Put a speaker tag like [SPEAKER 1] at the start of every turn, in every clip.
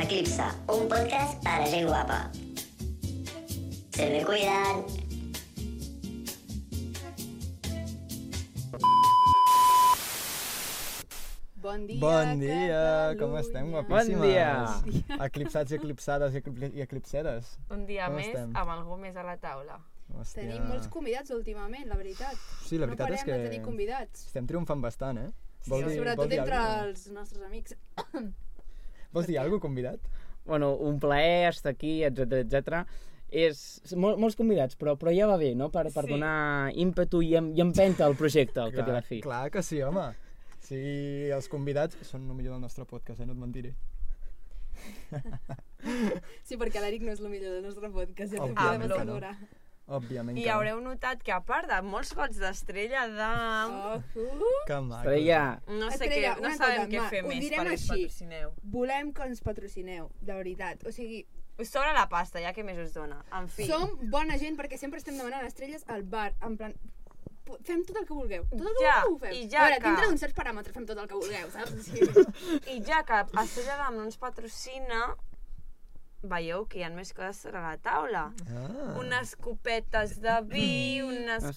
[SPEAKER 1] Eclipsa, un podcast para gente guapa. Se me cuidan.
[SPEAKER 2] Bon dia,
[SPEAKER 3] Bon dia, com estem,
[SPEAKER 2] Catalunya.
[SPEAKER 3] guapíssimes?
[SPEAKER 4] Bon dia.
[SPEAKER 3] Eclipsats i eclipsades i, eclip i eclipseres.
[SPEAKER 4] Un dia
[SPEAKER 3] Com
[SPEAKER 4] més
[SPEAKER 3] estem?
[SPEAKER 4] amb algú més a la taula.
[SPEAKER 3] Hòstia.
[SPEAKER 2] Tenim molts convidats últimament, la veritat.
[SPEAKER 3] Sí, la veritat
[SPEAKER 2] no
[SPEAKER 3] és
[SPEAKER 2] parem de
[SPEAKER 3] que-
[SPEAKER 2] tenir convidats.
[SPEAKER 3] Estem triomfant bastant, eh?
[SPEAKER 2] Sí,
[SPEAKER 3] dir-
[SPEAKER 2] sobretot
[SPEAKER 3] dir
[SPEAKER 2] entre
[SPEAKER 3] alguna cosa?
[SPEAKER 2] els nostres amics.
[SPEAKER 3] Vols dir alguna cosa, convidat?
[SPEAKER 5] bueno, un plaer estar aquí, etc etc. És mol, molts convidats, però, però ja va bé, no? Per, per
[SPEAKER 2] Sí.
[SPEAKER 5] sí. donar ímpetu i, em, i empenta al projecte, al cap i a la fi.
[SPEAKER 3] clar que sí, home. Sí, els convidats són el millor del nostre podcast, eh? no et mentiré.
[SPEAKER 2] Sí, perquè l'Eric no és el millor del nostre podcast, ja t'ho podem
[SPEAKER 3] Òbviament que no.
[SPEAKER 2] assegurar.
[SPEAKER 3] Òbviament
[SPEAKER 4] I
[SPEAKER 3] que no.
[SPEAKER 4] haureu notat que a part de molts gots d'estrella de...
[SPEAKER 2] Ojo.
[SPEAKER 3] Que maco.
[SPEAKER 5] Estrella,
[SPEAKER 4] No sé
[SPEAKER 2] Oh. Estrella,
[SPEAKER 4] què,
[SPEAKER 2] una
[SPEAKER 4] no sabem
[SPEAKER 2] cosa,
[SPEAKER 4] què
[SPEAKER 2] ma,
[SPEAKER 4] fer
[SPEAKER 2] ho
[SPEAKER 4] més
[SPEAKER 2] direm
[SPEAKER 4] perquè ens
[SPEAKER 2] així.
[SPEAKER 4] patrocineu.
[SPEAKER 2] Volem que ens patrocineu, de veritat. O sigui,
[SPEAKER 4] Us sobra la pasta, ja que més us dona. En fi.
[SPEAKER 2] som bona gent perquè sempre estem demanant estrelles al bar, en plan... po- Fem tot el que vulgueu. Tot el que
[SPEAKER 4] Ja,
[SPEAKER 2] vulgueu ho fem.
[SPEAKER 4] i ja
[SPEAKER 2] a veure,
[SPEAKER 4] que-
[SPEAKER 2] dintre d'uns certs paràmetres fem tot el que vulgueu, saps? Sí.
[SPEAKER 4] I ja que Estrella d'Am no ens patrocina, veieu que hi ha més coses sobre la taula.
[SPEAKER 3] Ah.
[SPEAKER 4] Unes copetes de vi, unes
[SPEAKER 5] Unes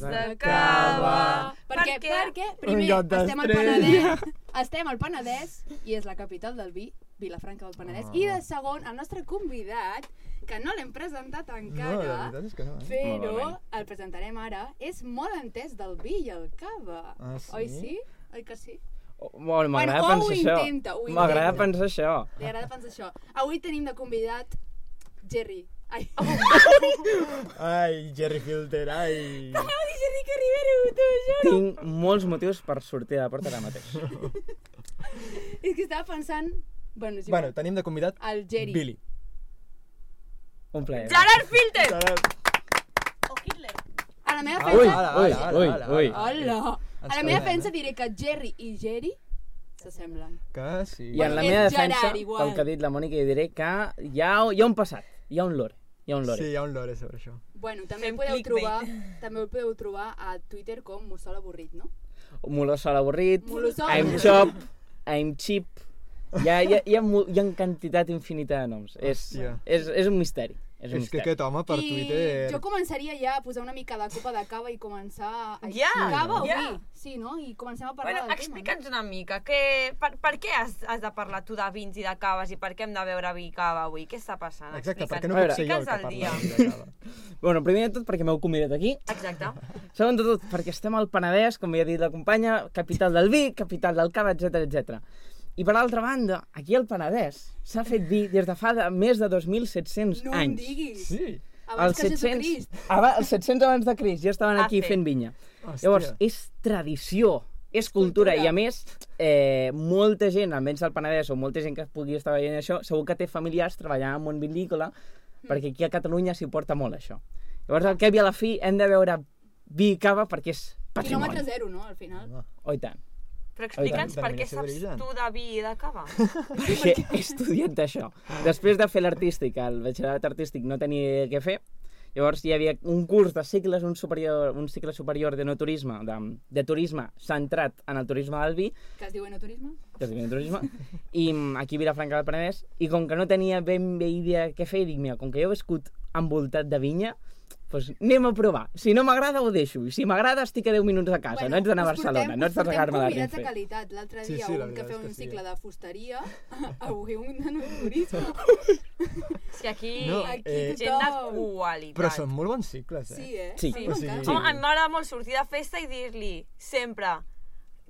[SPEAKER 5] copetes
[SPEAKER 4] de
[SPEAKER 5] de
[SPEAKER 4] cava...
[SPEAKER 2] Perquè,
[SPEAKER 4] Per què?
[SPEAKER 2] perquè primer,
[SPEAKER 3] Un got
[SPEAKER 2] estem al
[SPEAKER 3] d'estrella.
[SPEAKER 2] Penedès, estem al Penedès i és la capital del vi, Vilafranca del Penedès.
[SPEAKER 3] Ah.
[SPEAKER 2] I de segon, el nostre convidat, que no l'hem presentat
[SPEAKER 3] No, la
[SPEAKER 2] encara,
[SPEAKER 3] veritat és que no, eh?
[SPEAKER 2] però
[SPEAKER 5] Malament.
[SPEAKER 2] el presentarem ara, és molt entès del vi i el cava.
[SPEAKER 3] Ah, sí?
[SPEAKER 2] Oi sí? Oi que sí?
[SPEAKER 5] oh, bueno, m'agrada
[SPEAKER 2] Bueno, o ho
[SPEAKER 5] pensar això.
[SPEAKER 2] intenta, ho
[SPEAKER 5] M'agrada
[SPEAKER 2] intenta.
[SPEAKER 5] pensar això.
[SPEAKER 2] Li agrada pensar això. Avui tenim de convidat Jerry. Ai,
[SPEAKER 3] Ai, Jerry Filter, ai.
[SPEAKER 2] anava a dir Jerry que Rivero, t'ho juro.
[SPEAKER 5] Tinc molts motius per sortir de la porta ara mateix.
[SPEAKER 2] És que estava pensant... Bueno, és
[SPEAKER 3] bueno,
[SPEAKER 2] igual.
[SPEAKER 3] tenim de convidat
[SPEAKER 2] el Ah, Jerry.
[SPEAKER 3] Billy.
[SPEAKER 5] Un plaer.
[SPEAKER 4] Gerard Filter!
[SPEAKER 2] A la meva
[SPEAKER 3] Ah,
[SPEAKER 2] defensa...
[SPEAKER 3] hola,
[SPEAKER 5] Ui,
[SPEAKER 3] hola,
[SPEAKER 5] ui,
[SPEAKER 3] hola,
[SPEAKER 5] ui.
[SPEAKER 3] hola.
[SPEAKER 2] Hola! A la meva
[SPEAKER 3] Ens
[SPEAKER 2] defensa diré que Jerry i Jerry s'assemblen.
[SPEAKER 3] Que sí.
[SPEAKER 5] I en la
[SPEAKER 2] És
[SPEAKER 5] meva
[SPEAKER 2] Gerard,
[SPEAKER 5] defensa,
[SPEAKER 2] igual.
[SPEAKER 5] pel que ha dit la Mònica, jo diré que hi ha, hi ha un passat, hi ha un lore. Hi ha un lore.
[SPEAKER 3] Sí, hi ha un lore sobre això.
[SPEAKER 2] Bueno, també
[SPEAKER 4] Fem
[SPEAKER 2] ho podeu
[SPEAKER 4] clickbait.
[SPEAKER 2] trobar, també ho podeu trobar a Twitter com Mussol Avorrit, no?
[SPEAKER 5] Molosol avorrit,
[SPEAKER 2] Molosol.
[SPEAKER 5] I'm Chop, I'm Chip... Hi ha, hi, ha, hi, ha, mo- hi ha quantitat infinita de noms. És,
[SPEAKER 3] Hòstia.
[SPEAKER 5] és, és un misteri. És
[SPEAKER 3] És,
[SPEAKER 5] un
[SPEAKER 3] que
[SPEAKER 5] misteri.
[SPEAKER 3] aquest home per
[SPEAKER 2] I
[SPEAKER 3] Twitter...
[SPEAKER 2] jo començaria ja a posar una mica de copa de cava i començar... A...
[SPEAKER 4] Ja,
[SPEAKER 2] cava o
[SPEAKER 4] ja.
[SPEAKER 2] vi? Sí, no? I comencem a parlar
[SPEAKER 4] Bueno,
[SPEAKER 2] del
[SPEAKER 4] explica'ns una mica, que, per, per què has, has de parlar tu de vins i de caves i per què hem de beure vi i cava avui? Què està passant?
[SPEAKER 3] Exacte,
[SPEAKER 4] Explica'ns.
[SPEAKER 3] perquè no
[SPEAKER 5] A veure,
[SPEAKER 3] puc ser jo el que
[SPEAKER 4] Fica'ns al
[SPEAKER 3] parla.
[SPEAKER 4] dia.
[SPEAKER 3] de cava.
[SPEAKER 5] Bueno, primer de tot perquè m'heu convidat aquí.
[SPEAKER 4] Exacte.
[SPEAKER 5] Segon de tot perquè estem al Penedès, com ja ha dit la companya, capital del vi, capital del cava, etc etc. I per altra banda, aquí al Penedès s'ha fet vi des de fa de, més de 2.700
[SPEAKER 2] No em
[SPEAKER 5] anys.
[SPEAKER 2] diguis!
[SPEAKER 3] Sí.
[SPEAKER 2] Abans que Jesucrist.
[SPEAKER 5] 700, abans, els 700 abans de Crist ja estaven
[SPEAKER 4] Ah,
[SPEAKER 5] aquí
[SPEAKER 4] sí.
[SPEAKER 5] fent vinya.
[SPEAKER 3] Hòstia.
[SPEAKER 5] Llavors, és tradició, és cultura,
[SPEAKER 2] Cultura.
[SPEAKER 5] i a més, eh, molta gent, almenys del Penedès, o molta gent que pugui estar veient això, segur que té familiars treballant en món vinícola, perquè aquí a Catalunya s'hi porta molt això. Llavors, al cap i a la fi, hem de veure vi i cava perquè és
[SPEAKER 2] Quilòmetre
[SPEAKER 5] patrimoni.
[SPEAKER 2] zero, no? Al final.
[SPEAKER 5] Oh, i tant.
[SPEAKER 4] Però explica'ns per què
[SPEAKER 3] Denominació
[SPEAKER 4] saps
[SPEAKER 3] d'origen.
[SPEAKER 4] tu de vi i de cava.
[SPEAKER 5] Perquè he estudiat això. Després de fer l'artístic, el batxillerat artístic no tenia què fer, llavors hi havia un curs de cicles, un, superior, un cicle superior de no turisme, de, de turisme centrat en el turisme del vi,
[SPEAKER 2] Que es diu enoturisme?
[SPEAKER 5] que es diu turisme, i mm, aquí a Vilafranca del Penedès, i com que no tenia ben bé idea què fer, dic, mira, com que jo he viscut envoltat de vinya, doncs anem a provar. Si no m'agrada, ho deixo. I si m'agrada, estic a 10 minuts de
[SPEAKER 3] Ah,
[SPEAKER 5] casa. no ets d'anar a
[SPEAKER 2] us
[SPEAKER 5] Barcelona,
[SPEAKER 2] portem-
[SPEAKER 5] no
[SPEAKER 2] us
[SPEAKER 5] ets de
[SPEAKER 2] portem
[SPEAKER 5] regar-me de
[SPEAKER 2] convidats de
[SPEAKER 5] Renfe.
[SPEAKER 2] qualitat. L'altre
[SPEAKER 3] Sí,
[SPEAKER 2] dia
[SPEAKER 3] sí, la
[SPEAKER 2] un que
[SPEAKER 3] veritat
[SPEAKER 2] feia
[SPEAKER 3] és que
[SPEAKER 2] un
[SPEAKER 3] sí.
[SPEAKER 2] cicle de fusteria, avui un de naturisme.
[SPEAKER 4] És que aquí,
[SPEAKER 3] No,
[SPEAKER 2] Aquí
[SPEAKER 3] eh,
[SPEAKER 4] gent de
[SPEAKER 2] tothom.
[SPEAKER 4] qualitat.
[SPEAKER 3] Però són molt bons cicles, eh?
[SPEAKER 2] Sí, eh?
[SPEAKER 5] Sí.
[SPEAKER 2] A mi
[SPEAKER 4] Sí.
[SPEAKER 5] O
[SPEAKER 2] m'encanta.
[SPEAKER 3] sigui-
[SPEAKER 4] Home, a mi m'agrada molt sortir de festa i dir-li sempre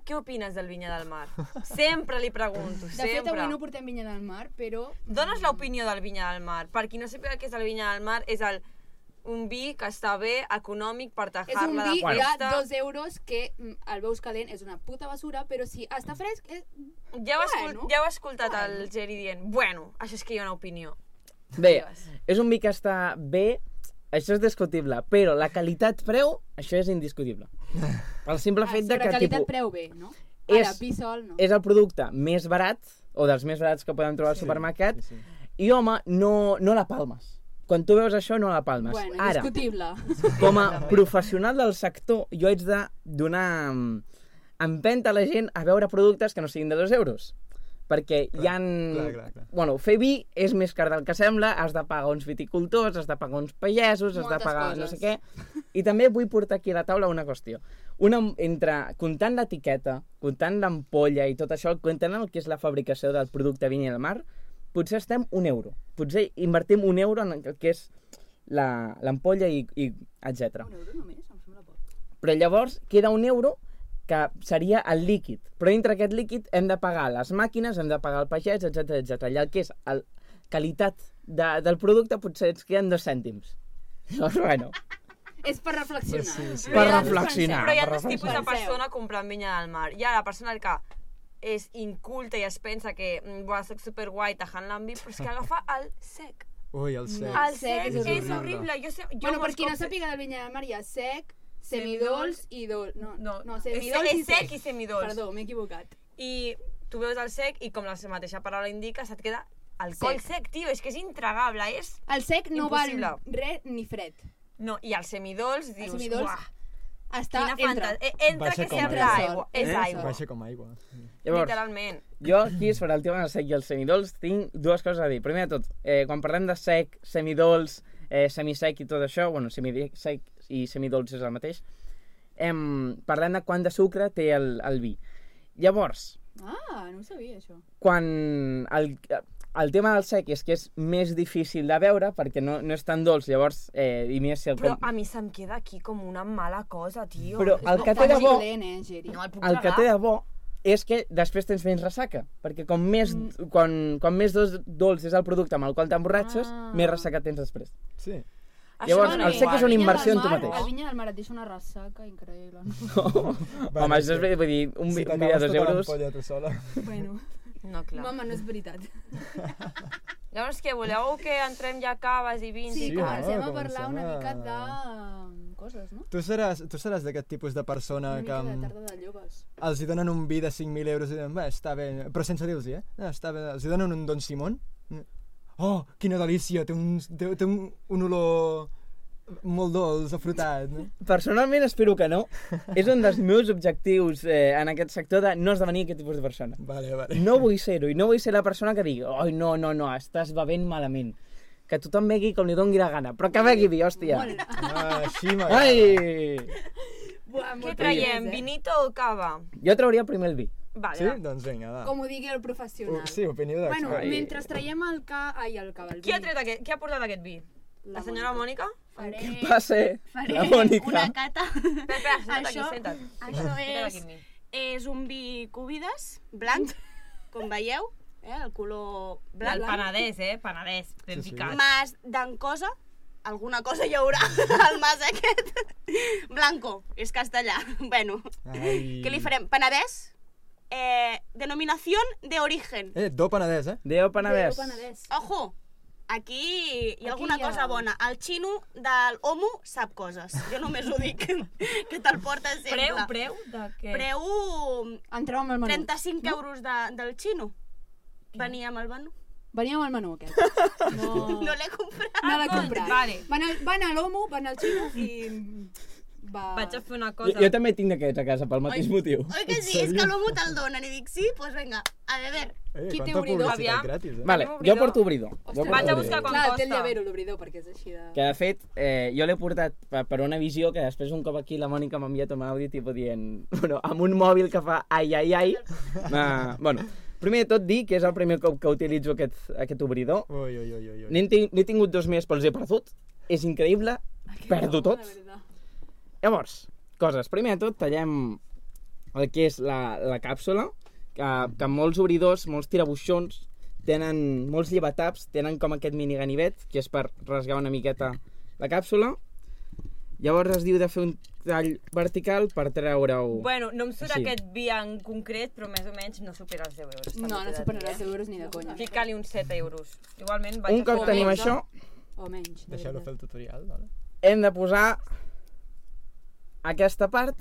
[SPEAKER 4] què opines del Vinya del Mar? Sempre li pregunto,
[SPEAKER 2] De fet,
[SPEAKER 4] sempre.
[SPEAKER 2] avui no portem vinya del mar, però... mm,
[SPEAKER 4] Dones l'opinió del Vinya del Mar. Per qui no sàpiga què és el Vinya del Mar, és el, un vi que està bé, econòmic, per
[SPEAKER 2] És un
[SPEAKER 4] tajar-la de
[SPEAKER 2] vi
[SPEAKER 4] festa.
[SPEAKER 2] de dos euros que mm, el veus calent, és una puta basura, però si està fresc... eh, És...
[SPEAKER 4] Ja heu, escol...
[SPEAKER 2] Bueno.
[SPEAKER 4] ja heu escoltat el Geri dient, bueno, això és que hi ha una opinió.
[SPEAKER 5] Bé, és un vi que està bé, això és discutible, però la qualitat-preu, això és indiscutible. El simple fet de
[SPEAKER 2] sobre
[SPEAKER 5] que
[SPEAKER 2] qualitat
[SPEAKER 5] tipus,
[SPEAKER 2] preu bé, no?
[SPEAKER 5] és-
[SPEAKER 2] Ara, vi sol, no?
[SPEAKER 5] és el producte més barat, o dels més barats que podem trobar al supermercat,
[SPEAKER 3] Sí, sí.
[SPEAKER 5] i home, no, no la palmes. Quan tu veus això, no la palmes.
[SPEAKER 2] Bueno,
[SPEAKER 5] Ara,
[SPEAKER 2] discutible.
[SPEAKER 5] com a professional del sector, jo haig de donar mm, empenta a la gent a veure productes que no siguin de 2 euros. perquè clar, hi han...
[SPEAKER 3] clar, clar, clar.
[SPEAKER 5] Bueno, fer vi és més car del que sembla, has de pagar uns viticultors, has de pagar uns pagesos, has de
[SPEAKER 2] Moltes
[SPEAKER 5] pagar no
[SPEAKER 2] coses.
[SPEAKER 5] sé què... I també vull portar aquí a la taula una qüestió. Una, entre, comptant l'etiqueta, comptant l'ampolla i tot això, comptant el que és la fabricació del producte vini al mar, potser estem un euro. Potser invertim un euro en el que és la- l'ampolla i, i etc.
[SPEAKER 2] Un euro només? Em sembla poc.
[SPEAKER 5] Però llavors queda un euro que seria el líquid. Però dintre aquest líquid hem de pagar les màquines, hem de pagar el pagès, etc etc. Allà el que és el qualitat de, del producte potser ens queden dos cèntims. Llavors, bueno,
[SPEAKER 2] És per reflexionar.
[SPEAKER 3] Sí, sí.
[SPEAKER 5] per
[SPEAKER 4] Però ja-
[SPEAKER 2] Ah,
[SPEAKER 5] reflexionar.
[SPEAKER 4] Però hi ha
[SPEAKER 5] per
[SPEAKER 4] dos tipus de
[SPEAKER 5] reflexionar.
[SPEAKER 2] Penseu.
[SPEAKER 4] persona comprant vinya del mar. Hi ha la persona que és inculta i es pensa que mm, va ser superguai tajant l'ambi, però és que agafa el sec.
[SPEAKER 3] Ui, el sec.
[SPEAKER 4] El
[SPEAKER 2] sec
[SPEAKER 4] sec
[SPEAKER 2] és
[SPEAKER 4] és,
[SPEAKER 3] horrible.
[SPEAKER 4] horrible. Jo, sé, jo
[SPEAKER 2] bueno, per
[SPEAKER 4] molts
[SPEAKER 2] qui no
[SPEAKER 4] cops-
[SPEAKER 2] sàpiga del vinya del mar hi ha sec, semidolç i dolç. No, no, no semidolç
[SPEAKER 4] és,
[SPEAKER 2] i
[SPEAKER 4] és sec i semidolç.
[SPEAKER 2] Perdó, m'he equivocat.
[SPEAKER 4] I tu veus el sec i com la mateixa paraula indica, se't queda alcohol sec, sec tio, és que és intragable, és...
[SPEAKER 2] El sec no
[SPEAKER 4] Impossible.
[SPEAKER 2] val res ni fred.
[SPEAKER 4] No, i el semidolç, dius,
[SPEAKER 2] semidolç
[SPEAKER 4] uah,
[SPEAKER 2] Està
[SPEAKER 4] quina
[SPEAKER 2] entra.
[SPEAKER 4] fantasia. Entra, entra
[SPEAKER 3] Baixa
[SPEAKER 4] que
[SPEAKER 3] com
[SPEAKER 4] sembla
[SPEAKER 2] aigua.
[SPEAKER 4] aigua.
[SPEAKER 2] Eh?
[SPEAKER 4] És aigua.
[SPEAKER 3] Baixa com aigua.
[SPEAKER 5] Llavors,
[SPEAKER 4] Literalment.
[SPEAKER 5] jo aquí sobre el tema del sec i el semidolç tinc dues coses a dir. Primer de tot, eh, quan parlem de sec, semidolç, eh, semisec i tot això, bueno, semisec i semidolç és el mateix, em, parlem de quant de sucre té el, el vi. Llavors,
[SPEAKER 2] Ah, no ho sabia, això.
[SPEAKER 5] quan el, el tema del sec és que és més difícil de veure perquè no, no és tan dolç, llavors, eh, i més si el...
[SPEAKER 4] Però a mi se'm queda aquí com una mala cosa, tio.
[SPEAKER 5] Però
[SPEAKER 4] És
[SPEAKER 5] el
[SPEAKER 4] com-
[SPEAKER 5] que té de bo,
[SPEAKER 2] Dolent, eh, Geri?
[SPEAKER 4] No el puc
[SPEAKER 5] el que
[SPEAKER 4] tragar.
[SPEAKER 5] té de bo és que després tens menys ressaca, perquè com més, mm. quan, quan més dos, dolç és el producte amb el qual t'emborratxes,
[SPEAKER 2] Ah.
[SPEAKER 5] ah. més ressaca tens després.
[SPEAKER 3] Sí.
[SPEAKER 4] Això
[SPEAKER 5] Llavors,
[SPEAKER 4] no
[SPEAKER 5] el
[SPEAKER 4] és
[SPEAKER 5] sec és
[SPEAKER 4] igual.
[SPEAKER 5] una
[SPEAKER 2] vinya
[SPEAKER 5] inversió
[SPEAKER 2] del
[SPEAKER 5] en tu
[SPEAKER 2] mar-
[SPEAKER 5] mateix.
[SPEAKER 2] El vinya del mar et deixa una ressaca increïble.
[SPEAKER 5] Home, això és,
[SPEAKER 3] sí.
[SPEAKER 5] vull dir, un,
[SPEAKER 3] Si
[SPEAKER 5] vi-
[SPEAKER 3] t'acabes
[SPEAKER 5] un vi de dos
[SPEAKER 3] tota
[SPEAKER 5] euros...
[SPEAKER 3] l'ampolla tu sola.
[SPEAKER 2] bueno,
[SPEAKER 4] No, clar.
[SPEAKER 2] mama, no és veritat.
[SPEAKER 4] Llavors, què, voleu que entrem ja a caves i vins?
[SPEAKER 2] Sí,
[SPEAKER 4] i
[SPEAKER 3] Sí,
[SPEAKER 4] tal?
[SPEAKER 2] comencem
[SPEAKER 3] no?
[SPEAKER 2] a parlar una mica
[SPEAKER 3] Comencem
[SPEAKER 2] de
[SPEAKER 3] a-
[SPEAKER 2] um, coses, no?
[SPEAKER 3] Tu seràs, tu seràs d'aquest tipus de persona
[SPEAKER 2] Una
[SPEAKER 3] que
[SPEAKER 2] mica de
[SPEAKER 3] mm,
[SPEAKER 2] tarda de lloves.
[SPEAKER 3] els hi donen un vi de 5.000 euros i diuen, va, està bé, però sense dir-los, eh? Ah, està bé. Els hi donen un Don Simón. Mm. Oh, quina delícia, té un, té, té un, un olor molt dolç, afrutat. no?
[SPEAKER 5] Personalment espero que no. És un dels meus objectius eh, en aquest sector de no esdevenir aquest tipus de persona.
[SPEAKER 3] Vale, vale.
[SPEAKER 5] No vull ser-ho i no vull ser la persona que digui oi, no, no, no, estàs bevent malament. Que tothom begui com li doni la gana, però que begui vi, hòstia.
[SPEAKER 2] Molt.
[SPEAKER 3] Ah, així m'agrada.
[SPEAKER 5] Ai!
[SPEAKER 2] Buah,
[SPEAKER 4] Què
[SPEAKER 2] molt
[SPEAKER 4] traiem,
[SPEAKER 2] feliç, eh?
[SPEAKER 4] vinito o cava?
[SPEAKER 5] Jo trauria primer el vi.
[SPEAKER 4] Vale,
[SPEAKER 3] Sí?
[SPEAKER 4] va.
[SPEAKER 3] Doncs vinga, va.
[SPEAKER 2] Com ho digui el professional.
[SPEAKER 3] Uh, sí, opinió de...
[SPEAKER 2] Bueno,
[SPEAKER 5] Ai.
[SPEAKER 2] mentre traiem el ca... Ai, el cabal.
[SPEAKER 4] Qui ha, tret aquest, qui ha portat aquest vi? La, senyora Mònica?
[SPEAKER 6] Faré,
[SPEAKER 5] Passe,
[SPEAKER 6] faré
[SPEAKER 5] la Mònica.
[SPEAKER 6] una cata.
[SPEAKER 4] Espera, espera, senta't aquí,
[SPEAKER 6] Això-
[SPEAKER 4] senta't.
[SPEAKER 6] Això
[SPEAKER 4] Senta't
[SPEAKER 6] és,
[SPEAKER 4] aquí amb mi.
[SPEAKER 6] és un vi cubides, blanc, com veieu, eh, el color
[SPEAKER 4] Del
[SPEAKER 6] blanc.
[SPEAKER 4] Penedès, eh? Penedès, ben
[SPEAKER 3] Sí, sí.
[SPEAKER 4] picat.
[SPEAKER 6] Mas d'ancosa, alguna cosa hi haurà al mas aquest. Blanco, és castellà. Bueno,
[SPEAKER 3] Ai.
[SPEAKER 6] què li farem? Penedès, eh, denominació de origen.
[SPEAKER 3] Eh, do penedès, eh?
[SPEAKER 5] Déu Penedès.
[SPEAKER 2] Penedès.
[SPEAKER 6] Ojo, aquí hi ha alguna
[SPEAKER 2] Aquí hi ha-
[SPEAKER 6] cosa bona. El xino del homo sap coses. Jo només ho dic, que te'l porta sempre.
[SPEAKER 4] Preu, preu de què?
[SPEAKER 6] Preu
[SPEAKER 2] Entreu amb el menú.
[SPEAKER 6] 35 euros de, del xino. Venia amb el menú.
[SPEAKER 2] Venia amb el menú, aquest.
[SPEAKER 5] Oh.
[SPEAKER 2] No,
[SPEAKER 6] No l'he comprat.
[SPEAKER 2] no l'ha
[SPEAKER 4] Ah,
[SPEAKER 2] comprat.
[SPEAKER 4] vale.
[SPEAKER 2] Van, al, van a l'homo, van al xino i... Va...
[SPEAKER 4] Vaig a fer una
[SPEAKER 5] Jo,
[SPEAKER 4] cosa.
[SPEAKER 5] jo també tinc d'aquests a casa, pel mateix motiu.
[SPEAKER 6] Oi que sí? És que l'homo te'l donen. I dic, sí, doncs pues vinga, a beber.
[SPEAKER 3] Eh,
[SPEAKER 2] Qui té
[SPEAKER 3] quanta
[SPEAKER 2] obridor?
[SPEAKER 3] publicitat
[SPEAKER 4] Aviam.
[SPEAKER 3] gratis, eh?
[SPEAKER 5] Vale, jo
[SPEAKER 4] obridor.
[SPEAKER 5] porto obridor. Jo
[SPEAKER 2] Ostres,
[SPEAKER 5] porto
[SPEAKER 4] Vaig a
[SPEAKER 5] obridor.
[SPEAKER 4] buscar quan
[SPEAKER 2] Clar, té el
[SPEAKER 4] costa.
[SPEAKER 2] llavero, l'obridor, perquè és així de...
[SPEAKER 5] Que de fet, eh, jo l'he portat per, per una visió que després un cop aquí la Mònica m'ha enviat un àudio tipo dient, bueno, amb un mòbil que fa ai, ai, ai. Uh, bueno, primer de tot dir que és el primer cop que utilitzo aquest, aquest obridor.
[SPEAKER 3] Ui, ui, ui, ui. ui.
[SPEAKER 5] N'he tin- n'he tingut dos més, però els he perdut. És increïble, perdo tot.
[SPEAKER 2] La veritat.
[SPEAKER 5] Llavors, coses. Primer de tot, tallem el que és la, la càpsula, que, que molts obridors, molts tirabuixons, tenen molts llevataps, tenen com aquest mini ganivet, que és per rasgar una miqueta la càpsula. Llavors es diu de fer un tall vertical per treure-ho...
[SPEAKER 4] Bueno, no em surt
[SPEAKER 5] Sí.
[SPEAKER 4] aquest vi en concret, però més o menys no supera els 10 euros.
[SPEAKER 2] No, no superarà els
[SPEAKER 4] euros.
[SPEAKER 2] euros ni de conya.
[SPEAKER 4] eh? Fica-li uns 7 euros. Igualment vaig
[SPEAKER 5] un
[SPEAKER 4] a
[SPEAKER 5] cop
[SPEAKER 4] fer-
[SPEAKER 5] tenim
[SPEAKER 2] menys,
[SPEAKER 5] això,
[SPEAKER 2] O menys. de veritat.
[SPEAKER 3] Deixeu-lo fer el tutorial, vale?
[SPEAKER 5] hem de posar aquesta part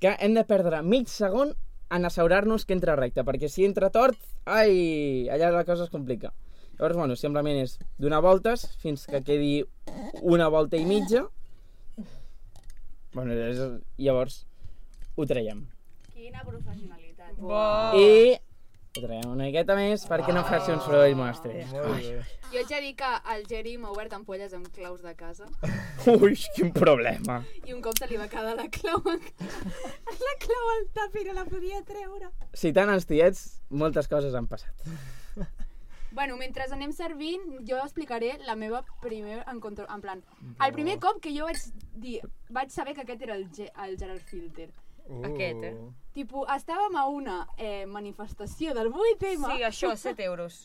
[SPEAKER 5] que hem de perdre mig segon en assegurar-nos que entra recte, perquè si entra tort, ai, allà la cosa es complica. Llavors, bueno, simplement és donar voltes fins que quedi una volta i mitja. Bueno, és, llavors ho traiem.
[SPEAKER 6] Quina professionalitat.
[SPEAKER 4] Bo.
[SPEAKER 5] I Ho traiem una miqueta més perquè no faci un soroll molt estrany.
[SPEAKER 3] Molt bé.
[SPEAKER 2] Jo haig de dir que el Geri m'ha obert ampolles amb claus de casa
[SPEAKER 5] Ui, quin problema.
[SPEAKER 2] i un cop se li va quedar la clau a ca- la clau al tap i no la podia treure.
[SPEAKER 5] Citant els tiets, moltes coses han passat.
[SPEAKER 2] Bueno, mentre anem servint, jo explicaré la meva primer encontro... En plan, el primer cop que jo vaig dir... Vaig saber que aquest era el, Ge el Gerard Filter.
[SPEAKER 3] Uh.
[SPEAKER 4] Aquest, eh?
[SPEAKER 2] Tipo, estàvem a una eh, manifestació del 8M.
[SPEAKER 4] Sí, això, 7 euros.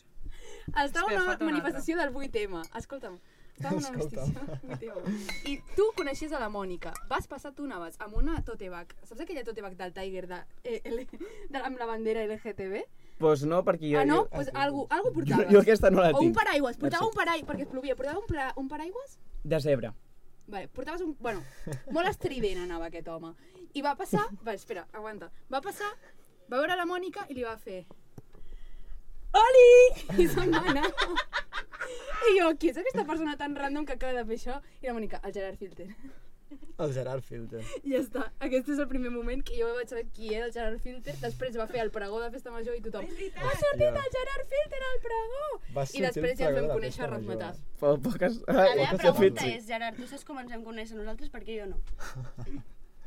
[SPEAKER 2] Estava
[SPEAKER 4] Espera,
[SPEAKER 2] una
[SPEAKER 4] falta un
[SPEAKER 2] manifestació del 8M. Escolta'm. Estava una
[SPEAKER 3] Escolta'm.
[SPEAKER 2] manifestació del 8M. I tu coneixies a la Mònica. Vas passar, tu anaves amb una tote bag. Saps aquella tote bag del Tiger de, eh, L, de, amb la bandera LGTB?
[SPEAKER 5] Pues no, perquè jo...
[SPEAKER 2] ah, no?
[SPEAKER 5] jo-
[SPEAKER 2] Doncs pues, algú, algú
[SPEAKER 5] Jo,
[SPEAKER 2] portaves.
[SPEAKER 5] jo aquesta no la
[SPEAKER 2] o un
[SPEAKER 5] tinc.
[SPEAKER 2] paraigües. Portava
[SPEAKER 5] Perfecte.
[SPEAKER 2] un paraigües, perquè plovia. Portava un, pla, un paraigües?
[SPEAKER 5] De zebra.
[SPEAKER 2] Vale, portaves un... Bueno, molt estrident anava aquest home. I va passar... Va, espera, aguanta. Va passar, va veure la Mònica i li va fer... Oli! I se'n va anar. I jo, qui és aquesta persona tan random que acaba de fer això? I la Mònica, el Gerard Filter.
[SPEAKER 3] El Gerard Filter.
[SPEAKER 2] I ja està. Aquest és el primer moment que jo vaig saber qui era el Gerard Filter. Després va fer el pregó de Festa Major i tothom... Ha sortit el Gerard Filter al pregó!
[SPEAKER 3] Va
[SPEAKER 2] I
[SPEAKER 3] sortir el
[SPEAKER 2] després ja
[SPEAKER 3] pregó
[SPEAKER 2] ens
[SPEAKER 3] de
[SPEAKER 2] vam
[SPEAKER 3] la
[SPEAKER 2] conèixer a
[SPEAKER 3] Festa Major.
[SPEAKER 2] Razmetàs.
[SPEAKER 5] Po poques...
[SPEAKER 6] La meva
[SPEAKER 5] poques
[SPEAKER 6] pregunta
[SPEAKER 5] fets.
[SPEAKER 6] és, Gerard, tu saps com ens vam conèixer nosaltres? Perquè jo no.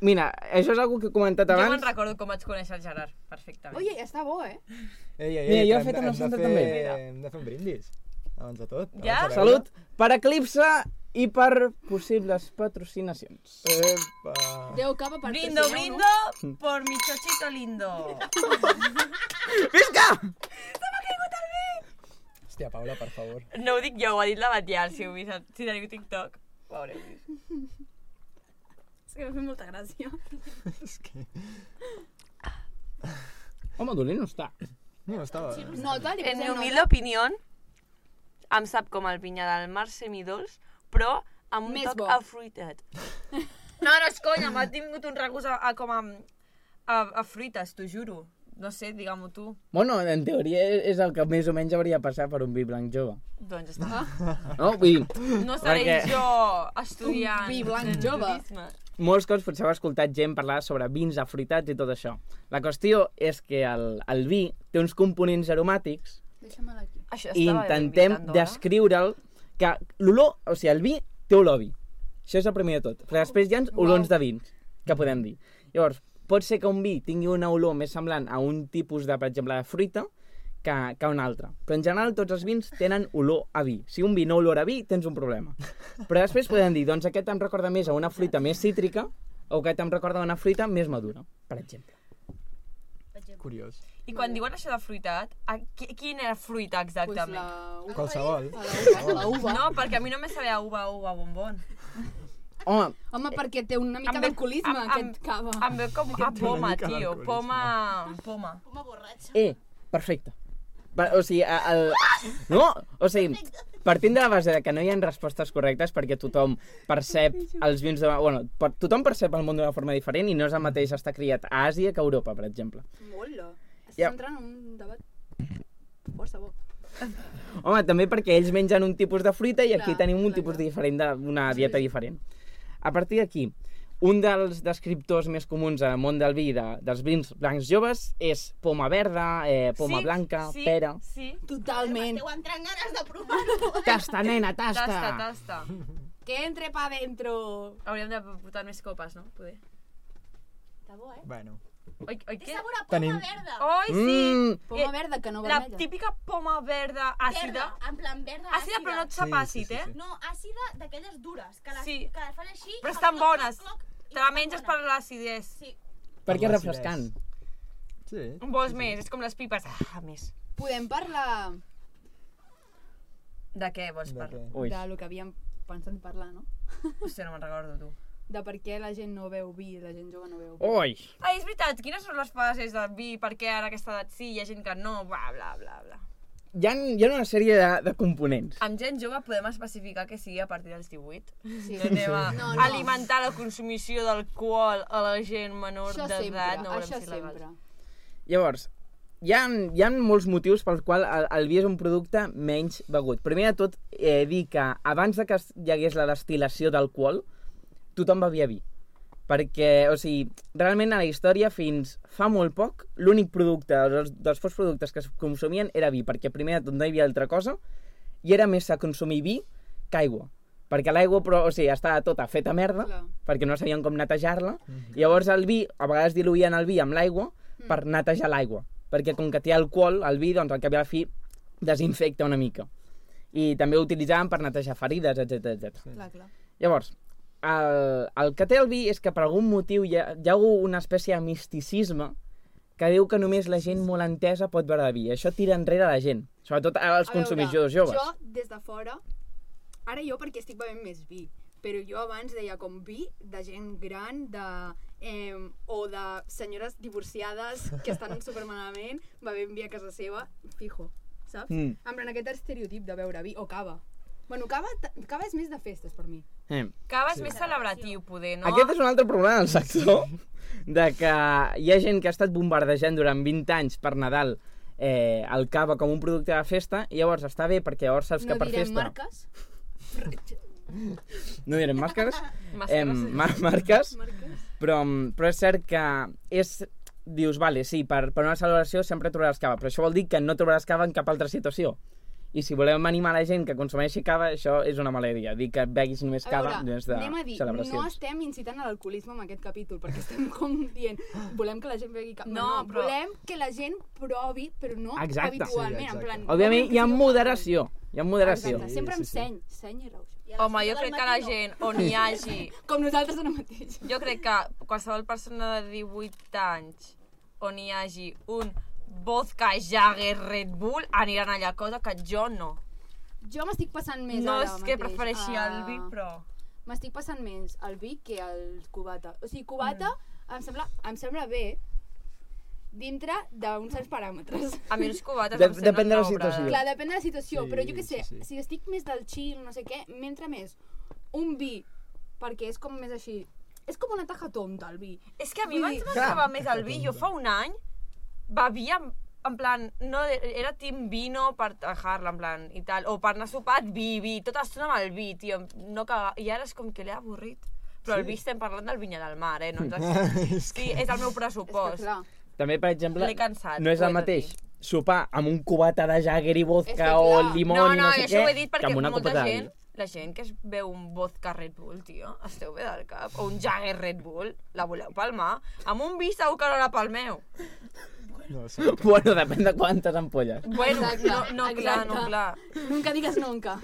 [SPEAKER 5] Mira, això és algo que he comentat
[SPEAKER 4] Jo me'n
[SPEAKER 5] abans.
[SPEAKER 4] recordo com vaig conèixer el Gerard, perfectament.
[SPEAKER 2] Oye, està bo, eh?
[SPEAKER 3] Ei, ei, ei,
[SPEAKER 5] Mira,
[SPEAKER 3] que
[SPEAKER 5] jo he
[SPEAKER 3] hem
[SPEAKER 5] fet
[SPEAKER 3] de-
[SPEAKER 5] una
[SPEAKER 3] hem de
[SPEAKER 5] santa
[SPEAKER 3] fer-
[SPEAKER 5] també.
[SPEAKER 3] Hem de fer un brindis, abans de tot.
[SPEAKER 4] Ja?
[SPEAKER 3] abans de veure.
[SPEAKER 5] Salut per Eclipse i per possibles patrocinacions.
[SPEAKER 3] Epa!
[SPEAKER 2] Déu capa per
[SPEAKER 4] Brindo,
[SPEAKER 2] tercer, no?
[SPEAKER 4] brindo por mi chochito lindo.
[SPEAKER 3] Hòstia, Paula, per favor.
[SPEAKER 4] No ho dic jo, ho ha dit la Batial, si, heu vist, el- si teniu TikTok. Ho haureu vist.
[SPEAKER 2] És que m'ha fet molta gràcia.
[SPEAKER 3] És que...
[SPEAKER 5] Home, dolent no està.
[SPEAKER 3] No, estava...
[SPEAKER 2] Nota, li
[SPEAKER 4] En mi
[SPEAKER 2] posem
[SPEAKER 4] humilde
[SPEAKER 2] nota.
[SPEAKER 4] opinió, em sap com el pinyà del mar semidolç, però amb un
[SPEAKER 2] Més
[SPEAKER 4] toc
[SPEAKER 2] bo.
[SPEAKER 4] afruitat. No, no, és conya, m'ha tingut un regust a, a com a, a, a fruites, t'ho juro. No sé, digue-m'ho tu.
[SPEAKER 5] Bueno, en teoria és el que més o menys hauria passat per un vi blanc jove.
[SPEAKER 4] Doncs està.
[SPEAKER 5] No? Vull dir,
[SPEAKER 4] No seré
[SPEAKER 5] Perquè-
[SPEAKER 4] jo estudiant.
[SPEAKER 2] Un vi blanc
[SPEAKER 4] de
[SPEAKER 2] jove.
[SPEAKER 4] turisme.
[SPEAKER 5] molts cops potser heu escoltat gent parlar sobre vins afruitats i tot això. La qüestió és que el, el vi té uns components aromàtics
[SPEAKER 2] Deixa'm-la aquí.
[SPEAKER 4] Això
[SPEAKER 5] i
[SPEAKER 4] estava eh?
[SPEAKER 5] intentem
[SPEAKER 4] invitant, dona.
[SPEAKER 5] descriure'l que l'olor, o sigui, el vi té olor a vi. Això és el primer de tot. Però després hi ha olons de vins, que podem dir. Llavors, pot ser que un vi tingui una olor més semblant a un tipus de, per exemple, de fruita que, que un altre. Però en general tots els vins tenen olor a vi. Si un vi no olora a vi, tens un problema. Però després podem dir, doncs aquest em recorda més a una fruita més cítrica o aquest em recorda a una fruita més madura, per exemple.
[SPEAKER 3] Curiós.
[SPEAKER 4] I quan diuen això de fruitat, a, qui- quina fruita
[SPEAKER 2] Pues
[SPEAKER 4] exactament?
[SPEAKER 2] la uva.
[SPEAKER 3] Qualsevol.
[SPEAKER 2] A la uva. A la uva.
[SPEAKER 4] No, perquè a mi només sabia uva, uva, bombon.
[SPEAKER 5] Home,
[SPEAKER 2] Home, perquè té una mica
[SPEAKER 4] Em ve-
[SPEAKER 2] d'alcoholisme,
[SPEAKER 4] em- em-
[SPEAKER 2] aquest cava.
[SPEAKER 4] Em veu com a poma,
[SPEAKER 3] mica
[SPEAKER 4] tio.
[SPEAKER 3] d'alcoholisme.
[SPEAKER 4] Poma, poma.
[SPEAKER 5] Eh, perfecte. Per, o sigui, a- el... No, o sigui, partint de la base de que no hi ha respostes correctes perquè tothom percep els vins de... Bueno, per, tothom percep el món d'una forma diferent i no és el mateix estar criat a Àsia que a Europa, per exemple.
[SPEAKER 2] Molt. Estàs
[SPEAKER 5] Ja.
[SPEAKER 2] entrant en un debat força bo.
[SPEAKER 5] Home, també perquè ells mengen un tipus de fruita i aquí
[SPEAKER 2] Clar,
[SPEAKER 5] tenim un
[SPEAKER 2] clar,
[SPEAKER 5] tipus
[SPEAKER 2] clar.
[SPEAKER 5] diferent d'una dieta diferent. A partir d'aquí, un dels descriptors més comuns al món del vi, de, dels vins blancs joves, és poma verda, eh, poma
[SPEAKER 4] Sí,
[SPEAKER 5] blanca,
[SPEAKER 4] sí,
[SPEAKER 5] pera...
[SPEAKER 4] Sí,
[SPEAKER 2] Totalment.
[SPEAKER 6] Esteu entrant ganes de provar-ho.
[SPEAKER 5] Tasta, nena, tasta!
[SPEAKER 4] tasta, tasta.
[SPEAKER 2] Que entre pa dentro.
[SPEAKER 4] Hauríem de portar més copes, no? Poder.
[SPEAKER 6] Està bo, eh?
[SPEAKER 3] Bueno.
[SPEAKER 4] Oi, oi, què?
[SPEAKER 6] Una poma
[SPEAKER 3] Tenim-
[SPEAKER 6] verda.
[SPEAKER 4] Oi, sí!
[SPEAKER 5] Mm,
[SPEAKER 2] Poma
[SPEAKER 4] Eh,
[SPEAKER 2] verda, que no
[SPEAKER 4] La
[SPEAKER 2] vermella.
[SPEAKER 4] típica poma verda àcida.
[SPEAKER 6] Verda, en plan verda, àcida.
[SPEAKER 4] Àcida, però no et sap
[SPEAKER 3] Sí, sí,
[SPEAKER 4] àcid,
[SPEAKER 3] sí,
[SPEAKER 4] eh?
[SPEAKER 3] sí.
[SPEAKER 6] No, àcida d'aquelles dures, que les,
[SPEAKER 4] Sí.
[SPEAKER 6] que les fan així...
[SPEAKER 4] Però
[SPEAKER 6] fan
[SPEAKER 4] estan
[SPEAKER 6] cloc, cloc,
[SPEAKER 4] bones.
[SPEAKER 6] cloc,
[SPEAKER 4] Te
[SPEAKER 6] i
[SPEAKER 4] la
[SPEAKER 6] estan
[SPEAKER 4] menges per
[SPEAKER 6] bones.
[SPEAKER 4] l'acidès.
[SPEAKER 6] Sí.
[SPEAKER 5] perquè
[SPEAKER 3] Per
[SPEAKER 5] és
[SPEAKER 3] l'acidesa.
[SPEAKER 5] refrescant.
[SPEAKER 3] Sí.
[SPEAKER 4] Un vols més, és com les pipes. Ah, més.
[SPEAKER 2] Podem parlar
[SPEAKER 4] De què vols
[SPEAKER 3] De què?
[SPEAKER 4] parlar?
[SPEAKER 5] Ui.
[SPEAKER 2] de lo que havíem pensat parlar, no?
[SPEAKER 4] Hòstia, no me'n recordo, tu.
[SPEAKER 2] De per què la gent no veu vi, la gent jove no veu vi.
[SPEAKER 5] Ui.
[SPEAKER 4] Ai, és veritat, quines són les fases del vi? Per què ara a aquesta edat sí, hi ha gent que no, bla, bla, bla, bla.
[SPEAKER 5] Hi ha, hi ha una sèrie de, de components.
[SPEAKER 4] Amb gent jove podem especificar que sigui a partir dels 18.
[SPEAKER 2] Sí.
[SPEAKER 4] No anem a
[SPEAKER 2] No,
[SPEAKER 4] no,
[SPEAKER 2] no.
[SPEAKER 4] no. alimentar la consumició d'alcohol a la gent menor
[SPEAKER 2] Això
[SPEAKER 4] d'edat.
[SPEAKER 2] sempre,
[SPEAKER 4] No volem
[SPEAKER 2] això
[SPEAKER 4] ser legals.
[SPEAKER 2] sempre.
[SPEAKER 5] Llavors, hi ha, hi ha molts motius pel qual el, el vi és un producte menys begut. Primer de tot, eh, dir que abans de que es- hi hagués la destil·lació d'alcohol, tothom bevia vi. perquè, o sigui, realment a la història fins fa molt poc, l'únic producte, dels, dels pocs productes que es consumien era vi, perquè primer de tot no hi havia altra cosa, i era més a consumir vi que aigua. Perquè l'aigua, però, o sigui, estava tota feta merda,
[SPEAKER 2] Clar.
[SPEAKER 5] perquè no sabien com netejar-la, i llavors el vi, a vegades diluïen el vi amb l'aigua per netejar l'aigua, perquè com que té alcohol, el vi, doncs al cap i a la fi desinfecta una mica. I també ho utilitzaven per netejar ferides, etc etc.
[SPEAKER 6] Clar, clar.
[SPEAKER 5] Llavors, el, el que té el vi és que per algun motiu hi ha, hi ha hagut una espècie de misticisme que diu que només la gent molt entesa pot beure vi. Això tira enrere la gent, sobretot ara els
[SPEAKER 2] A veure,
[SPEAKER 5] consumidors joves.
[SPEAKER 2] Jo, des de fora, ara jo perquè estic bevent més vi, però jo abans deia com vi de gent gran, de, eh, o de senyores divorciades que estan supermalament bevent vi a casa seva, fijo, saps?
[SPEAKER 5] Mm.
[SPEAKER 2] Mm. En plan, aquest estereotip de beure vi, o cava. Bueno, cava, t- cava és més de festes per mi.
[SPEAKER 5] Eh.
[SPEAKER 4] Cava és més celebratiu, poder, no?
[SPEAKER 5] No. Aquest és un altre problema del sector, de que hi ha gent que ha estat bombardejant durant 20 anys per Nadal eh, el cava com un producte de festa, i llavors està bé perquè llavors saps
[SPEAKER 2] no
[SPEAKER 5] que per
[SPEAKER 2] direm
[SPEAKER 5] festa...
[SPEAKER 2] marques.
[SPEAKER 5] No direm màscares.
[SPEAKER 4] Màscares.
[SPEAKER 5] em, mar marques.
[SPEAKER 2] marques.
[SPEAKER 5] però, mm, però és cert que és, dius, vale, sí, per, per una celebració sempre trobaràs cava, però això vol dir que no trobaràs cava en cap altra situació. I si volem animar la gent que consumeixi cava, això és una mala idea, dir que beguis només
[SPEAKER 2] A
[SPEAKER 5] cava
[SPEAKER 2] veure,
[SPEAKER 5] només de
[SPEAKER 2] anem a dir, no
[SPEAKER 5] celebracions.
[SPEAKER 2] estem incitant a l'alcoholisme amb aquest capítol, perquè estem com dient, volem que la gent begui cap...
[SPEAKER 4] No, però-
[SPEAKER 2] Volem que la gent provi, però no
[SPEAKER 5] Exacte.
[SPEAKER 2] habitualment.
[SPEAKER 3] Sí, exacte.
[SPEAKER 2] en plan, volem
[SPEAKER 5] Òbviament,
[SPEAKER 2] que
[SPEAKER 5] hi ha
[SPEAKER 2] sigui un-
[SPEAKER 5] moderació, hi ha moderació.
[SPEAKER 2] Exacte, sempre
[SPEAKER 3] Sí,
[SPEAKER 2] amb
[SPEAKER 3] sí, sí.
[SPEAKER 2] seny, seny i rauxa. I a les
[SPEAKER 4] Home, jo
[SPEAKER 6] del
[SPEAKER 4] crec que
[SPEAKER 6] matí
[SPEAKER 4] la
[SPEAKER 6] no.
[SPEAKER 4] gent on hi hagi...
[SPEAKER 2] set- Com nosaltres ara mateix.
[SPEAKER 4] Jo crec que qualsevol persona de 18 anys on hi hagi un vodka Jagger Red Bull aniran allà, cosa que jo no.
[SPEAKER 2] Jo m'estic passant més
[SPEAKER 4] no
[SPEAKER 2] ara
[SPEAKER 4] és
[SPEAKER 2] mateix
[SPEAKER 4] que
[SPEAKER 2] Ah.
[SPEAKER 4] prefereixi
[SPEAKER 2] a-
[SPEAKER 4] el vi, però...
[SPEAKER 2] M'estic passant més el vi que el cubata. O sigui, cubata
[SPEAKER 4] Mm.
[SPEAKER 2] em sembla, em sembla bé dintre d'uns certs paràmetres.
[SPEAKER 4] A mi els cubates
[SPEAKER 5] De-
[SPEAKER 4] em semblen
[SPEAKER 5] depèn de la
[SPEAKER 4] una obra
[SPEAKER 5] situació.
[SPEAKER 2] Clar, depèn de la situació,
[SPEAKER 3] Sí,
[SPEAKER 2] però jo què sé,
[SPEAKER 3] sí, sí.
[SPEAKER 2] si estic més del chill, no sé què, m'entra més un vi, perquè és com més així... És com una taja tonta, el vi.
[SPEAKER 4] És que a mi
[SPEAKER 2] Vull
[SPEAKER 4] abans
[SPEAKER 2] dir-
[SPEAKER 4] m'agradava més el vi. Jo fa un any bevia en- en plan, no, era team vino per tajar-la, en plan, i tal. O per anar a sopar, vi, vi, tota l'estona amb el vi, tio. No caga... I ara és com que l'he avorrit. Però sí. el vi estem parlant del vinya del mar, eh? No ens
[SPEAKER 3] És
[SPEAKER 4] sí, és el meu
[SPEAKER 2] És que,
[SPEAKER 4] pressupost.
[SPEAKER 2] clar,
[SPEAKER 5] També, per exemple,
[SPEAKER 4] L'he cansat,
[SPEAKER 5] no és
[SPEAKER 4] ho he
[SPEAKER 5] el
[SPEAKER 4] de
[SPEAKER 5] mateix
[SPEAKER 4] dir.
[SPEAKER 5] sopar amb un cubata de Jagger i vodka
[SPEAKER 2] És que,
[SPEAKER 5] o
[SPEAKER 2] clar.
[SPEAKER 5] limó
[SPEAKER 4] no,
[SPEAKER 5] i
[SPEAKER 4] no,
[SPEAKER 5] no sé
[SPEAKER 4] això
[SPEAKER 5] què,
[SPEAKER 4] ho he dit
[SPEAKER 5] que
[SPEAKER 4] perquè
[SPEAKER 5] amb una
[SPEAKER 4] molta
[SPEAKER 5] copa de vi.
[SPEAKER 4] gent, la gent que es veu un vodka Red Bull, tio, esteu bé del cap, o un Jagger Red Bull, la voleu palmar, amb un vi segur que no la palmeu.
[SPEAKER 3] No, segur que...
[SPEAKER 5] Bueno, depèn de quantes ampolles.
[SPEAKER 4] Bueno,
[SPEAKER 2] Exacte,
[SPEAKER 4] no, no, clar, no,
[SPEAKER 2] exacte.
[SPEAKER 4] clar.
[SPEAKER 2] nunca digues nunca.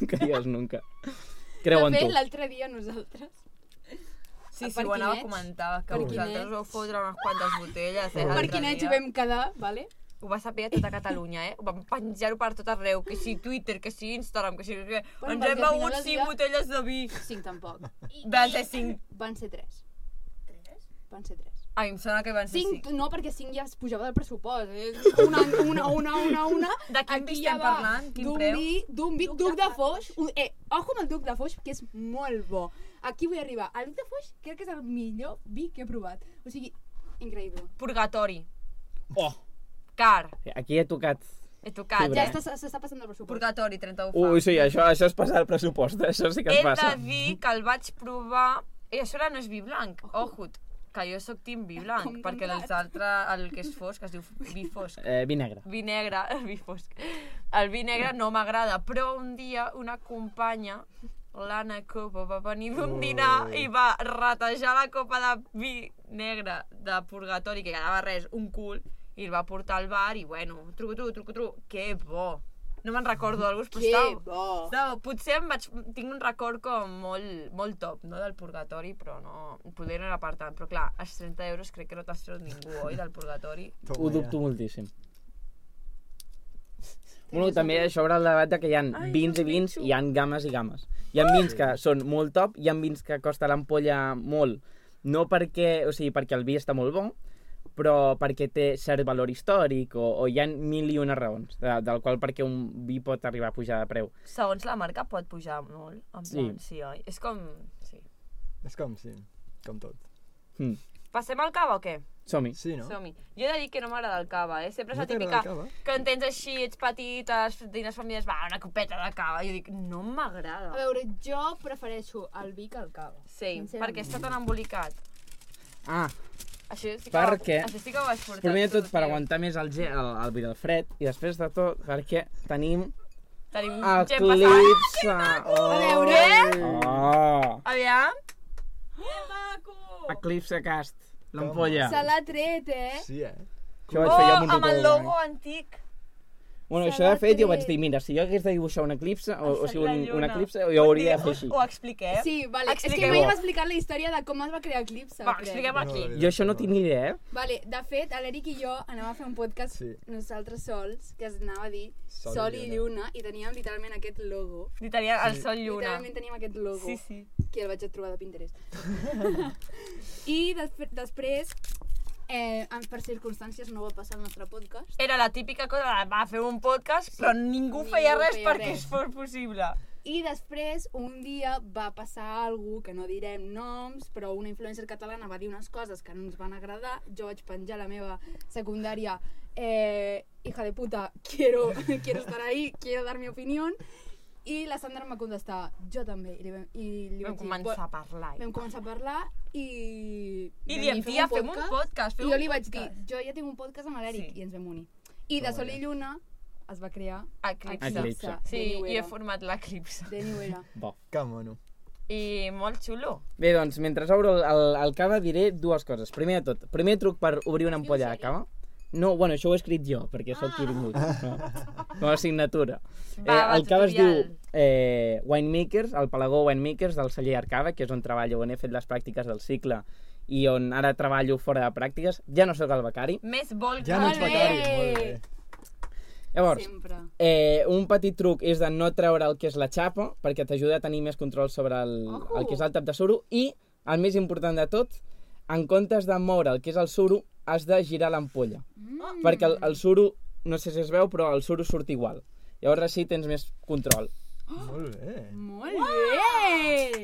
[SPEAKER 5] No creies nunca.
[SPEAKER 2] De
[SPEAKER 5] Creu en
[SPEAKER 2] fet,
[SPEAKER 5] tu.
[SPEAKER 2] l'altre dia nosaltres...
[SPEAKER 4] Sí,
[SPEAKER 2] A
[SPEAKER 4] sí, ho anava a
[SPEAKER 2] Perquinyets.
[SPEAKER 4] comentar, que
[SPEAKER 2] Perquinyets.
[SPEAKER 4] vosaltres vau fotre unes quantes botelles, eh,
[SPEAKER 2] Per
[SPEAKER 4] l'altre
[SPEAKER 2] quin anys
[SPEAKER 4] dia.
[SPEAKER 2] hi vam quedar, vale?
[SPEAKER 4] Ho va saber a tota Catalunya, eh? Ho vam penjar per tot arreu, que si Twitter, que si Instagram, que si... Que...
[SPEAKER 2] Bueno,
[SPEAKER 4] Ens hem
[SPEAKER 2] perquè al final
[SPEAKER 4] begut
[SPEAKER 2] del
[SPEAKER 4] 5
[SPEAKER 2] dia-
[SPEAKER 4] botelles de vi.
[SPEAKER 2] Cinc tampoc.
[SPEAKER 4] Van ser 5...
[SPEAKER 2] Van ser tres. Tres? Van ser tres.
[SPEAKER 4] A mi em sona que van ser
[SPEAKER 2] Cinc,
[SPEAKER 4] 5.
[SPEAKER 2] no, perquè cinc ja es pujava del pressupost. Eh? Una, una, una, una, una...
[SPEAKER 4] De quin
[SPEAKER 2] Aquí
[SPEAKER 4] vi
[SPEAKER 2] ja
[SPEAKER 4] estem
[SPEAKER 2] va
[SPEAKER 4] parlant? Quin
[SPEAKER 2] d'un
[SPEAKER 4] preu?
[SPEAKER 2] Vi, d'un vi, duc, de foix. Un, eh, ojo amb el duc de foix, que és molt bo. Aquí vull arribar. El duc de foix crec que és el millor vi que he provat. O sigui, increïble.
[SPEAKER 4] Purgatori.
[SPEAKER 5] Oh.
[SPEAKER 4] Car.
[SPEAKER 5] Aquí he tocat...
[SPEAKER 4] He tocat.
[SPEAKER 2] Ja
[SPEAKER 5] Fibra. Bé.
[SPEAKER 4] Ja
[SPEAKER 2] està- s'està passant del pressupost.
[SPEAKER 4] Purgatori, 31 fa.
[SPEAKER 5] Ui, sí, això, això és passar el pressupost, eh? això sí que
[SPEAKER 4] He
[SPEAKER 5] es passa.
[SPEAKER 4] de dir que el vaig provar... I això ara no és vi blanc, ojut. Que jo sóc team vi blanc,
[SPEAKER 2] Com
[SPEAKER 4] perquè
[SPEAKER 2] Conrad.
[SPEAKER 4] els altres, el que és fosc, es diu vi fosc.
[SPEAKER 5] Eh, vi negre.
[SPEAKER 4] Vi negre, el vi fosc. El vi negre no m'agrada, però un dia una companya, l'Anna Copa, va venir d'un dinar i va ratejar la copa de vi negre de purgatori, que quedava res, un cul, i el va portar al bar i, bueno, truco, truco, truco, truco, que bo. No me'n recordo del gust, però
[SPEAKER 2] Que
[SPEAKER 4] estava-
[SPEAKER 2] bo!
[SPEAKER 4] no, potser em vaig, tinc un record com molt, molt top, no?, del purgatori, però no... Poder no era per tant, però clar, els 30 euros crec que no t'has tret ningú, oi, del purgatori?
[SPEAKER 3] Toma,
[SPEAKER 5] Ho dubto moltíssim. Bueno, també això obre el debat de que hi ha vins i vins i hi ha games i games. Hi ha vins que són molt top, hi ha vins que costa l'ampolla molt, no perquè, o sigui, perquè el vi està molt bo, però perquè té cert valor històric o, o hi ha mil i una raons de, del qual perquè un vi pot arribar a pujar de preu.
[SPEAKER 4] Segons la marca pot pujar molt, en
[SPEAKER 5] Sí.
[SPEAKER 4] plan, sí, oi? És com... Sí.
[SPEAKER 3] ja. És com, sí, com tot.
[SPEAKER 5] Hm.
[SPEAKER 4] Passem al cava o què?
[SPEAKER 5] Som-hi.
[SPEAKER 3] Sí, no?
[SPEAKER 4] Som-hi. Jo he de dir que no m'agrada el cava, eh? Sempre és
[SPEAKER 3] No
[SPEAKER 4] la
[SPEAKER 3] t'agrada
[SPEAKER 4] típica
[SPEAKER 3] el cava?
[SPEAKER 4] que en tens així, ets petit, has- dines famílies, va, una copeta de cava. Jo dic, no
[SPEAKER 2] A
[SPEAKER 4] m'agrada.
[SPEAKER 2] veure, jo prefereixo el vi que el cava.
[SPEAKER 4] Sí,
[SPEAKER 2] sincerament.
[SPEAKER 4] perquè està tan embolicat.
[SPEAKER 5] Ah,
[SPEAKER 4] Això sí que,
[SPEAKER 5] Perquè-
[SPEAKER 4] Això sí que ho has portat.
[SPEAKER 5] primer de tot per
[SPEAKER 4] tio.
[SPEAKER 5] aguantar més el, ge- el, el, el fred i després de tot perquè tenim
[SPEAKER 4] Tenim gent passant.
[SPEAKER 5] Eclipse. Oh.
[SPEAKER 2] A veure.
[SPEAKER 5] Oh.
[SPEAKER 4] Aviam.
[SPEAKER 5] Eclipse Cast. L'ampolla.
[SPEAKER 2] Se l'ha tret, eh?
[SPEAKER 3] Sí, eh?
[SPEAKER 5] Això
[SPEAKER 4] Oh,
[SPEAKER 5] vaig fer jo amb un eh?
[SPEAKER 4] amb el
[SPEAKER 5] rotó.
[SPEAKER 4] logo antic.
[SPEAKER 5] Bueno,
[SPEAKER 2] Se
[SPEAKER 5] això de
[SPEAKER 2] l'ha
[SPEAKER 5] fet jo vaig
[SPEAKER 2] tret.
[SPEAKER 5] dir, mira, si jo hagués de dibuixar un eclipse, o, o
[SPEAKER 4] Passat
[SPEAKER 5] sigui,
[SPEAKER 4] la
[SPEAKER 5] un, un
[SPEAKER 4] lluna.
[SPEAKER 5] eclipse, jo hauria de fer
[SPEAKER 4] Ho-
[SPEAKER 5] així.
[SPEAKER 4] Ho expliquem?
[SPEAKER 2] Sí, vale. És que
[SPEAKER 4] Expliquem-ho.
[SPEAKER 2] mai va explicar la història de com es va crear Eclipse.
[SPEAKER 4] Va,
[SPEAKER 2] crec.
[SPEAKER 4] expliquem aquí.
[SPEAKER 5] Jo això no tinc ni idea, eh?
[SPEAKER 2] Vale, de fet, l'Eric i jo anàvem a fer un podcast
[SPEAKER 3] Sí.
[SPEAKER 2] nosaltres sols, que es anava a dir Sol, i Lluna, i teníem literalment aquest logo.
[SPEAKER 4] Literal, el sol lluna.
[SPEAKER 2] Literalment teníem aquest logo,
[SPEAKER 4] Sí, sí.
[SPEAKER 2] que el vaig trobar de Pinterest. I desp després, eh, en- per circumstàncies no va passar el nostre podcast.
[SPEAKER 4] Era la típica cosa de va fer un podcast, però ningú feia
[SPEAKER 2] Ningú
[SPEAKER 4] res
[SPEAKER 2] feia
[SPEAKER 4] perquè
[SPEAKER 2] res.
[SPEAKER 4] es fos possible.
[SPEAKER 2] I després, un dia va passar algú que no direm noms, però una influencer catalana va dir unes coses que no ens van agradar. Jo vaig penjar a la meva secundària, eh, hija de puta, quiero, quiero estar ahí, quiero dar mi opinión. I la Sandra em va contestar, jo també. I li, vam, i li
[SPEAKER 4] Vam
[SPEAKER 2] vaig
[SPEAKER 4] començar a
[SPEAKER 2] dir,
[SPEAKER 4] parlar.
[SPEAKER 2] "Bo-" vam començar a parlar i...
[SPEAKER 4] I
[SPEAKER 2] vam
[SPEAKER 4] diem,
[SPEAKER 2] dir,
[SPEAKER 4] tia, fem un podcast, fem
[SPEAKER 2] I jo
[SPEAKER 4] un
[SPEAKER 2] li vaig dir,
[SPEAKER 4] podcast.
[SPEAKER 2] jo ja tinc un podcast amb l'Eric,
[SPEAKER 4] Sí.
[SPEAKER 2] i ens vam unir. I de Sol i Lluna es va crear
[SPEAKER 4] Eclipse.
[SPEAKER 5] Eclipse.
[SPEAKER 4] Sí,
[SPEAKER 2] Denny
[SPEAKER 4] i he
[SPEAKER 2] Uera.
[SPEAKER 4] format l'eclipse.
[SPEAKER 2] Denny Uera.
[SPEAKER 5] Bo.
[SPEAKER 3] Que mono.
[SPEAKER 4] I molt xulo.
[SPEAKER 5] Bé, doncs, mentre obro el, el, el cava diré dues coses. Primer de tot, primer truc per obrir una ampolla de cava. No, bueno, això ho he escrit jo, perquè sóc qui vingut. No. Com a signatura.
[SPEAKER 4] Ah.
[SPEAKER 5] Eh,
[SPEAKER 4] Va, va,
[SPEAKER 5] el cava es diu
[SPEAKER 4] tutorial.
[SPEAKER 5] eh, Winemakers, el Palagó Winemakers del celler Arcava, que és on treballo, on he fet les pràctiques del cicle i on ara treballo fora de pràctiques. Ja no sóc el becari.
[SPEAKER 4] Més vol que...
[SPEAKER 3] Ja no ets
[SPEAKER 2] Molt bé.
[SPEAKER 3] becari. Molt bé.
[SPEAKER 5] Llavors,
[SPEAKER 2] Sempre.
[SPEAKER 5] Eh, un petit truc és de no treure el que és la xapa, perquè t'ajuda a tenir més control sobre el,
[SPEAKER 2] Ojo.
[SPEAKER 5] el que és el tap de suro. I, el més important de tot, en comptes de moure el que és el suro, has de girar l'ampolla. Mm. Perquè el, el suro, no sé si es veu, però el suro surt igual. Llavors així tens més control.
[SPEAKER 3] Molt bé.
[SPEAKER 2] Molt bé!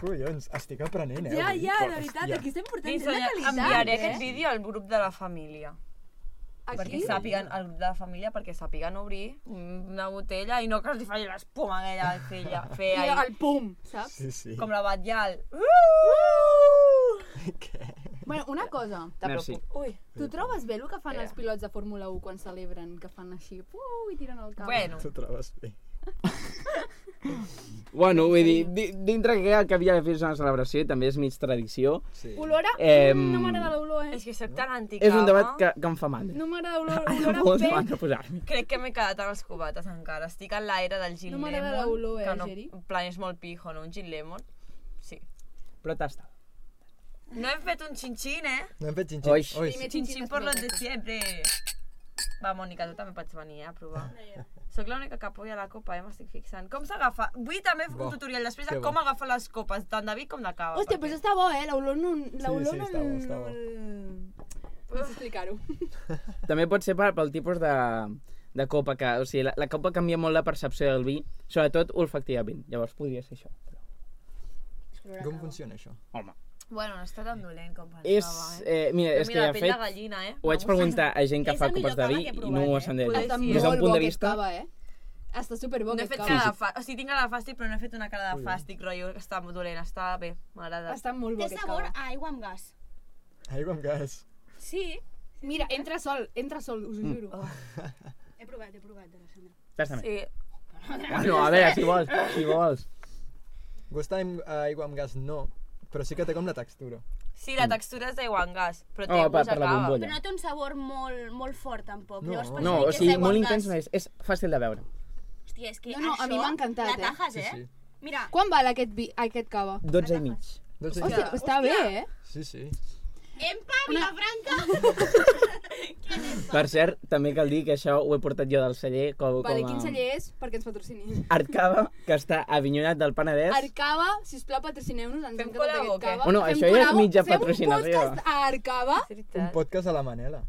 [SPEAKER 3] Collons, estic aprenent, eh?
[SPEAKER 2] Ja,
[SPEAKER 3] avui.
[SPEAKER 2] ja, de veritat, aquí estem portant gent de
[SPEAKER 4] Ensenyar-
[SPEAKER 2] qualitat,
[SPEAKER 4] enviaré aquest
[SPEAKER 2] eh?
[SPEAKER 4] vídeo al grup de la família. Perquè
[SPEAKER 2] Aquí?
[SPEAKER 4] sàpiguen, al grup de la família, perquè sàpiguen obrir una botella i no que els hi faci l'espuma aquella al filla. Fer
[SPEAKER 2] I
[SPEAKER 4] ahí,
[SPEAKER 2] el pum, saps?
[SPEAKER 3] Sí, sí.
[SPEAKER 4] com la batllal.
[SPEAKER 2] Uh!
[SPEAKER 3] Què?
[SPEAKER 2] Bueno, una cosa.
[SPEAKER 5] Merci.
[SPEAKER 4] Ui.
[SPEAKER 2] Tu trobes bé el que fan els pilots de Fórmula 1 quan celebren? Que fan així, puu, i tiren el cap.
[SPEAKER 4] Bueno,
[SPEAKER 3] T'ho trobes bé.
[SPEAKER 5] Bueno, vull dir, di- dintre que al cap i a la fi és una celebració i també és mig tradició,
[SPEAKER 3] Sí.
[SPEAKER 2] Olora?
[SPEAKER 5] Em,
[SPEAKER 2] Mm, No m'agrada l'olor, eh?
[SPEAKER 4] és que sóc tan anticava.
[SPEAKER 5] és un debat que, que em fa mal.
[SPEAKER 2] No m'agrada l'olor,
[SPEAKER 5] No,
[SPEAKER 2] olor
[SPEAKER 5] no,
[SPEAKER 2] a pet.
[SPEAKER 5] no, posar-m'hi.
[SPEAKER 4] Crec que m'he quedat a les cubates encara. Estic en l'aire del gin
[SPEAKER 2] No
[SPEAKER 4] lemon.
[SPEAKER 2] m'agrada l'olor, eh,
[SPEAKER 4] que no,
[SPEAKER 2] Geri?
[SPEAKER 4] En plan, és molt pijo, no? Un gin lemon. Sí.
[SPEAKER 5] Però tasta.
[SPEAKER 4] No hem fet un xinxin, eh?
[SPEAKER 3] No hem fet
[SPEAKER 5] Oi.
[SPEAKER 3] xinxins. Oi.
[SPEAKER 2] Primer
[SPEAKER 4] Xinxin por los de siempre. Va, Mònica, tu també pots venir eh, a provar. Sóc l'única que apoya la copa, eh? M'estic fixant. Com s'agafa? Vull també fer
[SPEAKER 3] Bo,
[SPEAKER 4] un tutorial després
[SPEAKER 3] que
[SPEAKER 4] de
[SPEAKER 3] bo.
[SPEAKER 4] com agafar les copes, tant de vi com de cava.
[SPEAKER 2] Hòstia, però està bo, eh? L'olor no... L'olor
[SPEAKER 3] sí,
[SPEAKER 2] no...
[SPEAKER 3] està bo, està bo.
[SPEAKER 2] no- No sé explicar-ho.
[SPEAKER 5] També pot ser per, pel tipus de, de copa que... O sigui, la, la copa canvia molt la percepció del vi, sobretot olfactivament. Llavors podria ser això.
[SPEAKER 3] Com funciona això?
[SPEAKER 5] Home.
[SPEAKER 4] Bueno, no està tan dolent com pensava,
[SPEAKER 5] És...
[SPEAKER 4] eh?
[SPEAKER 5] Eh, mira,
[SPEAKER 4] Però
[SPEAKER 5] és que
[SPEAKER 4] mira,
[SPEAKER 5] de
[SPEAKER 4] la pell de
[SPEAKER 5] fet...
[SPEAKER 4] gallina, eh?
[SPEAKER 5] Ho vaig
[SPEAKER 4] M'ha gustat.
[SPEAKER 5] preguntar a gent que
[SPEAKER 4] És
[SPEAKER 5] fa
[SPEAKER 4] el millor
[SPEAKER 5] copes de
[SPEAKER 4] cava
[SPEAKER 5] vi
[SPEAKER 4] que he
[SPEAKER 5] i no ho
[SPEAKER 4] provat,
[SPEAKER 5] has entès.
[SPEAKER 4] eh?
[SPEAKER 2] Està
[SPEAKER 4] Sí,
[SPEAKER 5] Des
[SPEAKER 2] molt
[SPEAKER 5] d'un
[SPEAKER 2] bo
[SPEAKER 5] punt de
[SPEAKER 2] aquest
[SPEAKER 5] vista...
[SPEAKER 2] cava, eh? Està superbo
[SPEAKER 4] No he
[SPEAKER 2] aquest
[SPEAKER 4] fet
[SPEAKER 2] cava.
[SPEAKER 4] cara de fàstic, o sigui, tinc cara de fàstic, però no he fet una cara de fàstic, rotllo, que està molt dolent, està bé, m'agrada.
[SPEAKER 2] Està molt bo
[SPEAKER 6] Té
[SPEAKER 2] aquest
[SPEAKER 6] sabor
[SPEAKER 2] cava.
[SPEAKER 6] a aigua amb gas.
[SPEAKER 3] Aigua amb gas.
[SPEAKER 6] Sí.
[SPEAKER 2] Mira, entra sol, entra sol, us ho
[SPEAKER 5] Mm.
[SPEAKER 2] juro.
[SPEAKER 6] He provat, he provat de la Sandra.
[SPEAKER 5] Tasta sí.
[SPEAKER 4] Sí,
[SPEAKER 5] Bueno, Ah, a veure, si vols, si vols.
[SPEAKER 3] Gust a aigua amb gas no, però sí que té com la textura.
[SPEAKER 4] sí, la textura és d'aigua en gas, però té
[SPEAKER 5] Mm. Oh, per,
[SPEAKER 4] gust
[SPEAKER 5] per
[SPEAKER 4] a
[SPEAKER 5] la
[SPEAKER 4] cava.
[SPEAKER 5] bombolla.
[SPEAKER 6] Però no té un sabor molt, molt fort, tampoc.
[SPEAKER 3] No.
[SPEAKER 6] Llavors, per
[SPEAKER 5] No,
[SPEAKER 6] això dic
[SPEAKER 5] o
[SPEAKER 6] que és
[SPEAKER 5] sigui,
[SPEAKER 6] aigua
[SPEAKER 5] molt
[SPEAKER 6] amb
[SPEAKER 5] intens no
[SPEAKER 6] gas.
[SPEAKER 5] és. És fàcil de veure.
[SPEAKER 6] Hòstia, és que
[SPEAKER 2] No, no, a
[SPEAKER 6] això
[SPEAKER 2] mi m'ha encantat, eh?
[SPEAKER 6] l'atajes,
[SPEAKER 3] Sí,
[SPEAKER 6] eh?
[SPEAKER 3] sí.
[SPEAKER 6] Mira,
[SPEAKER 2] Quan val aquest, vi, aquest cava?
[SPEAKER 5] 12 i mig.
[SPEAKER 3] Doncs sí.
[SPEAKER 2] Hòstia, està bé, eh?
[SPEAKER 3] Sí, sí.
[SPEAKER 6] empa, Vilafranca!
[SPEAKER 5] Per cert, també cal dir que això ho he portat jo del celler com, com
[SPEAKER 2] Vale,
[SPEAKER 5] a...
[SPEAKER 2] quin celler és perquè ens patrocini?
[SPEAKER 5] Arcava, que està a Avinyonat del Penedès.
[SPEAKER 2] Arcava, sisplau, patrocineu-nos, ens ha
[SPEAKER 4] Fem
[SPEAKER 2] encantat
[SPEAKER 4] col·labo,
[SPEAKER 2] aquest
[SPEAKER 4] o què?
[SPEAKER 2] cava.
[SPEAKER 5] Bueno,
[SPEAKER 2] Fem
[SPEAKER 5] això ja és
[SPEAKER 2] col·labo,
[SPEAKER 5] mitja
[SPEAKER 2] Fem
[SPEAKER 5] patrocinació.
[SPEAKER 2] un podcast a Arcava?
[SPEAKER 4] És
[SPEAKER 3] Un
[SPEAKER 4] veritat.
[SPEAKER 3] podcast a la Manela.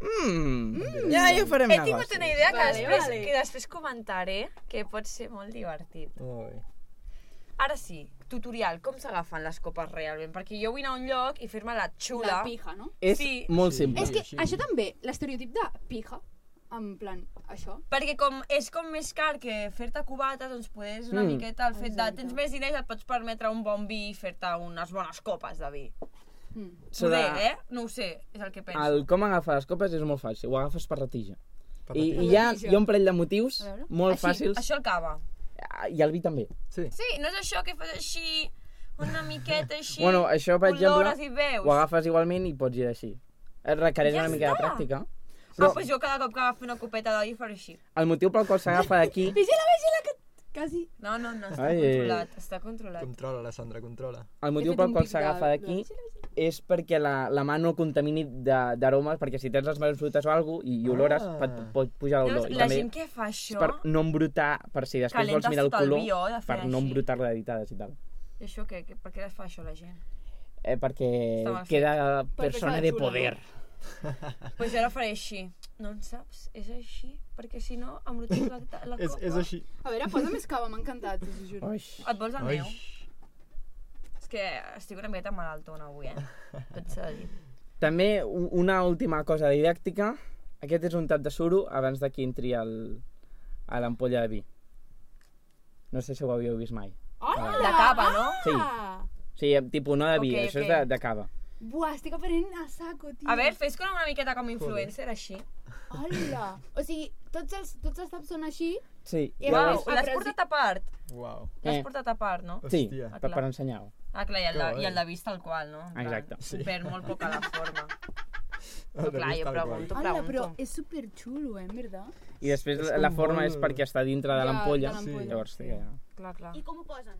[SPEAKER 5] Mm. Ja, ja farem
[SPEAKER 4] He tingut Eh, una idea que
[SPEAKER 2] Vale,
[SPEAKER 4] després,
[SPEAKER 2] vale.
[SPEAKER 4] que després comentaré, que pot ser molt divertit.
[SPEAKER 3] Oi.
[SPEAKER 4] Ara sí, tutorial, com s'agafen les copes realment? Perquè jo vull anar a un lloc i fer-me la xula.
[SPEAKER 2] La pija, no?
[SPEAKER 5] És
[SPEAKER 4] Sí.
[SPEAKER 5] molt
[SPEAKER 3] Sí.
[SPEAKER 5] simple.
[SPEAKER 2] És que
[SPEAKER 3] així.
[SPEAKER 2] això també, l'estereotip de pija, en plan, això.
[SPEAKER 4] Perquè com és com més car que fer-te cubata, doncs poder una
[SPEAKER 5] Mm.
[SPEAKER 4] mm. miqueta el fet de
[SPEAKER 2] Exacte.
[SPEAKER 4] tens més diners et pots permetre un bon vi i fer-te unes bones copes de vi.
[SPEAKER 2] Mm.
[SPEAKER 5] Això de-
[SPEAKER 4] Poder, eh? No ho sé, és el que penso.
[SPEAKER 5] El com agafar les copes és molt fàcil, ho agafes per la tija.
[SPEAKER 3] Per
[SPEAKER 5] I,
[SPEAKER 3] la
[SPEAKER 5] i hi, ha,
[SPEAKER 2] tija.
[SPEAKER 5] hi ha un parell de motius
[SPEAKER 2] A veure.
[SPEAKER 5] molt
[SPEAKER 4] així,
[SPEAKER 5] fàcils.
[SPEAKER 4] Això el cava.
[SPEAKER 5] Ah, I el vi també.
[SPEAKER 3] Sí.
[SPEAKER 4] Sí, no és això que fas així, una miqueta així,
[SPEAKER 5] bueno, això, per exemple,
[SPEAKER 4] olores i veus.
[SPEAKER 5] ho agafes igualment i pots girar així. Et requereix
[SPEAKER 4] Ja
[SPEAKER 5] una mica de
[SPEAKER 4] està.
[SPEAKER 5] pràctica.
[SPEAKER 4] Ah, pues jo cada cop que agafo una copeta d'oli faré així.
[SPEAKER 5] El motiu pel qual s'agafa d'aquí...
[SPEAKER 2] Vigila, vigila, que quasi...
[SPEAKER 4] No, no, no, està
[SPEAKER 5] Ai, ai, ai.
[SPEAKER 4] controlat, està controlat.
[SPEAKER 3] Controla, la Sandra, controla.
[SPEAKER 5] El
[SPEAKER 2] He
[SPEAKER 5] motiu
[SPEAKER 2] fet
[SPEAKER 5] pel
[SPEAKER 2] un
[SPEAKER 5] qual
[SPEAKER 2] pic
[SPEAKER 5] s'agafa
[SPEAKER 2] de-
[SPEAKER 5] d'aquí
[SPEAKER 2] de-
[SPEAKER 5] és perquè la, la mà no contamini de- d'aromes, perquè si tens les males frutes o alguna i, i olores,
[SPEAKER 3] Ah.
[SPEAKER 5] ah. pot, pot pujar l'olor. I
[SPEAKER 4] Llavors, la
[SPEAKER 5] també
[SPEAKER 4] gent que fa
[SPEAKER 5] és
[SPEAKER 4] això,
[SPEAKER 5] per no embrutar, per si després
[SPEAKER 4] Calentes
[SPEAKER 5] vols mirar el
[SPEAKER 4] tot el
[SPEAKER 5] color,
[SPEAKER 4] vi, oh, de fer
[SPEAKER 5] per no
[SPEAKER 4] així.
[SPEAKER 5] embrutar editades i tal.
[SPEAKER 4] i això què? Que- Per què fa això la gent?
[SPEAKER 5] Eh, perquè
[SPEAKER 4] Està mal fet.
[SPEAKER 5] queda
[SPEAKER 2] Perquè
[SPEAKER 5] persona
[SPEAKER 2] queda
[SPEAKER 5] de
[SPEAKER 2] xula,
[SPEAKER 5] poder.
[SPEAKER 4] Doncs pues jo ara faré així. No en saps? És així? Perquè si no, em rotis la, la
[SPEAKER 3] És,
[SPEAKER 4] copa.
[SPEAKER 3] és així.
[SPEAKER 2] A veure, posa més cava, m'ha encantat, us ho juro.
[SPEAKER 5] Oix.
[SPEAKER 4] Et vols el
[SPEAKER 3] Ai.
[SPEAKER 4] meu? És que estic una miqueta malaltona avui, eh? Tot s'ha de dir.
[SPEAKER 5] També u- una última cosa didàctica. Aquest és un tap de suro abans de que entri el, a l'ampolla de vi. No sé si ho havíeu vist mai.
[SPEAKER 2] Hola!
[SPEAKER 4] De cava, no?
[SPEAKER 5] Ah. Sí. O sigui, tipus no de vi,
[SPEAKER 4] Ok,
[SPEAKER 5] okay, això
[SPEAKER 4] ok.
[SPEAKER 5] és de, de cava.
[SPEAKER 2] Buah, estic aprenent a saco, tio.
[SPEAKER 4] A veure, fes com una miqueta com a influencer, així.
[SPEAKER 2] Hola! O sigui, tots els, tots els taps són així.
[SPEAKER 5] Sí,
[SPEAKER 2] I
[SPEAKER 4] Uau,
[SPEAKER 2] Llavors,
[SPEAKER 4] l'has
[SPEAKER 2] apresi-
[SPEAKER 4] portat a part.
[SPEAKER 3] Uau.
[SPEAKER 5] Eh.
[SPEAKER 4] L'has portat a part, no?
[SPEAKER 5] sí,
[SPEAKER 3] Hòstia.
[SPEAKER 5] per, per ensenyar-ho.
[SPEAKER 4] Ah, clar, i el,
[SPEAKER 3] Que
[SPEAKER 4] de,
[SPEAKER 3] guai.
[SPEAKER 4] i el de vista al qual, no? En plan,
[SPEAKER 5] Exacte.
[SPEAKER 3] Sí.
[SPEAKER 4] Perd molt poca la forma.
[SPEAKER 3] El
[SPEAKER 4] No,
[SPEAKER 3] de
[SPEAKER 4] clar,
[SPEAKER 3] vist
[SPEAKER 4] jo
[SPEAKER 3] tal qual.
[SPEAKER 4] pregunto,
[SPEAKER 2] Hola, però
[SPEAKER 4] pregunto.
[SPEAKER 2] és superxulo, eh, en veritat?
[SPEAKER 5] I després
[SPEAKER 3] És
[SPEAKER 5] la, la
[SPEAKER 3] com
[SPEAKER 5] forma
[SPEAKER 3] molt-
[SPEAKER 5] és perquè està dintre
[SPEAKER 2] Ja,
[SPEAKER 5] de l'ampolla.
[SPEAKER 2] de
[SPEAKER 5] Sí.
[SPEAKER 2] l'ampolla,
[SPEAKER 5] Llavors,
[SPEAKER 2] sí.
[SPEAKER 5] sí. ja.
[SPEAKER 4] Clar, clar.
[SPEAKER 6] I com ho posen?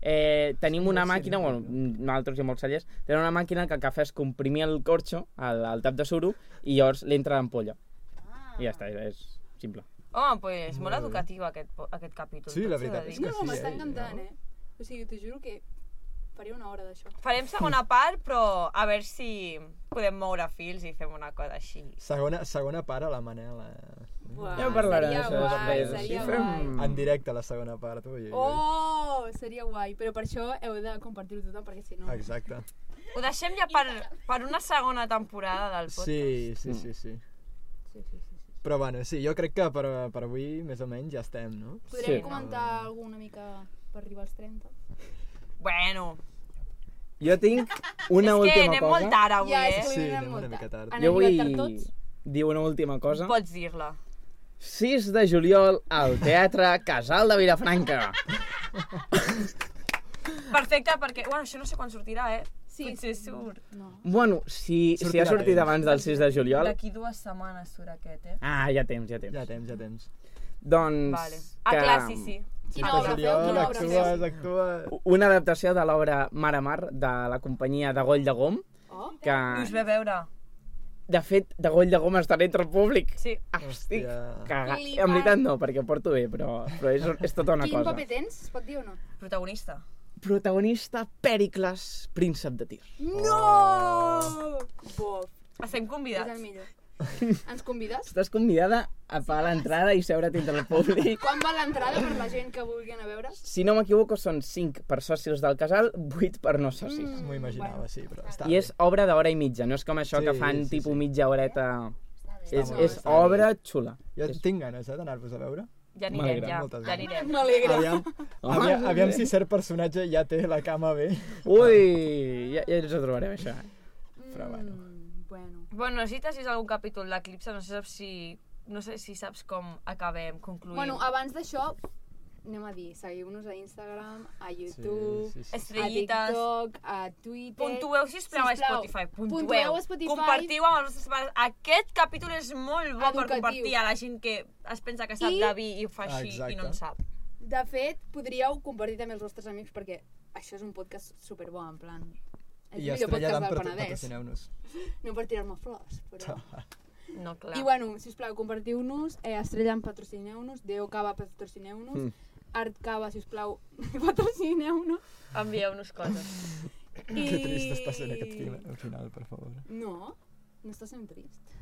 [SPEAKER 5] Eh, tenim
[SPEAKER 3] molt
[SPEAKER 5] una màquina, bueno, mm,
[SPEAKER 3] sereno,
[SPEAKER 5] nosaltres i molts cellers, tenen una màquina que el que fa és comprimir el corxo, el, el tap de suro, i llavors l'entra a l'ampolla.
[SPEAKER 6] Ah.
[SPEAKER 5] I ja està, és simple.
[SPEAKER 4] Home, doncs pues,
[SPEAKER 3] Molt
[SPEAKER 4] molt
[SPEAKER 3] bé.
[SPEAKER 4] educatiu aquest, po- aquest capítol.
[SPEAKER 3] Sí,
[SPEAKER 4] tot
[SPEAKER 3] la
[SPEAKER 4] s'ha de
[SPEAKER 3] veritat
[SPEAKER 4] dir.
[SPEAKER 3] és
[SPEAKER 2] No,
[SPEAKER 3] que
[SPEAKER 2] no,
[SPEAKER 3] sí,
[SPEAKER 2] m'està
[SPEAKER 3] eh,
[SPEAKER 2] encantant,
[SPEAKER 3] no?
[SPEAKER 2] eh? O sigui, t'ho juro que faria una hora d'això.
[SPEAKER 4] Farem
[SPEAKER 3] Mm.
[SPEAKER 4] segona part, però a veure si podem moure fils i fem una cosa així.
[SPEAKER 3] Segona, segona part a la Manela.
[SPEAKER 2] Buah,
[SPEAKER 5] Ja en parlarem,
[SPEAKER 2] seria
[SPEAKER 5] això
[SPEAKER 2] guai,
[SPEAKER 5] després.
[SPEAKER 2] seria
[SPEAKER 5] Sí,
[SPEAKER 2] guai.
[SPEAKER 5] fem...
[SPEAKER 3] En directe la segona part. Ui, ui, ui.
[SPEAKER 2] Oh, seria guai. Però per això heu de compartir-ho tothom, perquè si no...
[SPEAKER 3] Exacte.
[SPEAKER 4] Ho deixem ja per, per una segona temporada del podcast.
[SPEAKER 3] Sí, sí,
[SPEAKER 5] Mm.
[SPEAKER 3] sí, sí.
[SPEAKER 4] sí, sí, sí. sí.
[SPEAKER 3] Però bueno, sí, jo crec que per, per avui més o menys ja estem, no?
[SPEAKER 2] Podrem
[SPEAKER 5] Sí.
[SPEAKER 2] comentar alguna mica per arribar als 30.
[SPEAKER 4] Bueno,
[SPEAKER 5] Jo tinc una
[SPEAKER 4] és que
[SPEAKER 5] última
[SPEAKER 4] anem
[SPEAKER 5] cosa.
[SPEAKER 4] molt tard avui,
[SPEAKER 2] Ja, és
[SPEAKER 4] eh?
[SPEAKER 2] que
[SPEAKER 3] Ah, Sí,
[SPEAKER 2] vull anar
[SPEAKER 3] anem
[SPEAKER 2] molt
[SPEAKER 3] una mica
[SPEAKER 2] tard.
[SPEAKER 3] tard.
[SPEAKER 2] Han
[SPEAKER 5] Jo
[SPEAKER 2] arribat tard
[SPEAKER 5] vull
[SPEAKER 2] tots.
[SPEAKER 5] dir una última cosa.
[SPEAKER 4] Pots dir-la.
[SPEAKER 5] 6 de juliol al Teatre Casal de Vilafranca.
[SPEAKER 4] Perfecte, perquè... Bueno, això no sé quan sortirà, eh?
[SPEAKER 2] Sí,
[SPEAKER 4] Potser
[SPEAKER 2] sí.
[SPEAKER 4] surt.
[SPEAKER 2] No.
[SPEAKER 5] Bueno, si, si
[SPEAKER 3] Sortirà
[SPEAKER 5] ha sortit
[SPEAKER 3] bé.
[SPEAKER 5] abans del 6 de juliol...
[SPEAKER 4] D'aquí dues setmanes surt aquest, eh?
[SPEAKER 5] Ah, ja temps, ja temps.
[SPEAKER 3] Ja temps, ja temps.
[SPEAKER 5] Doncs...
[SPEAKER 4] Vale. A clar, sí, sí.
[SPEAKER 2] Quina
[SPEAKER 3] Però
[SPEAKER 2] obra
[SPEAKER 3] si
[SPEAKER 2] feu?
[SPEAKER 3] jo
[SPEAKER 2] Quina obra feu?
[SPEAKER 3] Actues, actues...
[SPEAKER 5] Una adaptació de l'obra Mar a Mar, de la companyia de Goll de Gom,
[SPEAKER 2] Oh,
[SPEAKER 5] que,
[SPEAKER 4] Us ve a veure.
[SPEAKER 5] de fet, de Goll de Gom estarà entre el públic.
[SPEAKER 4] Sí.
[SPEAKER 5] Estic
[SPEAKER 3] Hòstia.
[SPEAKER 5] cagat.
[SPEAKER 2] Flipant.
[SPEAKER 5] En veritat no, perquè ho porto bé, però, però és, és tota una
[SPEAKER 2] Quin
[SPEAKER 5] cosa.
[SPEAKER 2] paper tens? Es pot dir o no?
[SPEAKER 4] Protagonista.
[SPEAKER 5] Protagonista Pericles, príncep de Tir.
[SPEAKER 2] No! Bof,
[SPEAKER 4] Estem
[SPEAKER 2] és el
[SPEAKER 4] convidats.
[SPEAKER 2] millor. Ens convides?
[SPEAKER 5] Estàs convidada a pagar l'entrada i seure't entre el públic.
[SPEAKER 2] Quan va l'entrada per la gent que vulgui anar a veure?
[SPEAKER 5] Si no m'equivoco, són 5 per socis del casal, 8 per no socis.
[SPEAKER 2] Mm.
[SPEAKER 5] Mm.
[SPEAKER 3] M'ho imaginava, sí, però està
[SPEAKER 5] I és
[SPEAKER 3] bé.
[SPEAKER 5] obra d'hora i mitja, no és com això
[SPEAKER 3] Sí,
[SPEAKER 5] sí, que fan
[SPEAKER 3] sí,
[SPEAKER 5] sí, tipus
[SPEAKER 3] sí.
[SPEAKER 5] sí. mitja horeta... És,
[SPEAKER 3] molt bé,
[SPEAKER 5] és
[SPEAKER 3] està bé.
[SPEAKER 5] obra xula.
[SPEAKER 3] Jo tinc ganes, eh, d'anar-vos a veure.
[SPEAKER 4] Ja anirem,
[SPEAKER 5] M'agrada,
[SPEAKER 4] ja.
[SPEAKER 3] moltes
[SPEAKER 4] Ja
[SPEAKER 3] gràcies.
[SPEAKER 4] anirem.
[SPEAKER 2] M'alegra.
[SPEAKER 3] Aviam, aviam, aviam si cert personatge ja té la cama bé.
[SPEAKER 5] Ui, ja, ja ens ho trobarem, això.
[SPEAKER 3] Però bueno.
[SPEAKER 2] Mm, bueno.
[SPEAKER 4] Bueno, si t'has vist algun capítol d'Eclipse, no sé saps si... No sé si saps com acabem, concluïm.
[SPEAKER 2] Bueno, abans d'això, anem a dir, seguiu-nos a Instagram, a YouTube,
[SPEAKER 3] Sí, sí, sí.
[SPEAKER 2] a
[SPEAKER 4] Estrellites.
[SPEAKER 2] TikTok, a Twitter...
[SPEAKER 4] Puntueu, sisplau, a
[SPEAKER 2] Sisplau,
[SPEAKER 4] Spotify. Puntueu.
[SPEAKER 2] puntueu a Spotify.
[SPEAKER 4] Compartiu amb els vostres pares. Aquest capítol és molt bo
[SPEAKER 2] Educatiu.
[SPEAKER 4] per compartir a la gent que es pensa que sap
[SPEAKER 2] I-
[SPEAKER 4] de vi i ho fa
[SPEAKER 3] Ah,
[SPEAKER 4] així i no en
[SPEAKER 3] exacte.
[SPEAKER 4] sap.
[SPEAKER 2] De fet, podríeu compartir també els vostres amics perquè això és un podcast superbo, en plan... És
[SPEAKER 3] I
[SPEAKER 2] el millor
[SPEAKER 3] Estrella
[SPEAKER 2] podcast
[SPEAKER 3] d'Am
[SPEAKER 2] del
[SPEAKER 3] per
[SPEAKER 2] Penedès.
[SPEAKER 3] patrocineu-nos.
[SPEAKER 2] No per tirar-me flors, però...
[SPEAKER 4] No, clar.
[SPEAKER 2] I bueno, sisplau, compartiu-nos, eh, Estrella en patrocineu-nos, Déu Cava patrocineu-nos,
[SPEAKER 3] Hmm.
[SPEAKER 5] Mm.
[SPEAKER 2] Art Cava, sisplau, patrocineu-nos.
[SPEAKER 4] Envieu-nos coses.
[SPEAKER 2] I...
[SPEAKER 3] Que trist està sent aquest final, final per favor.
[SPEAKER 2] No, no està sent trist.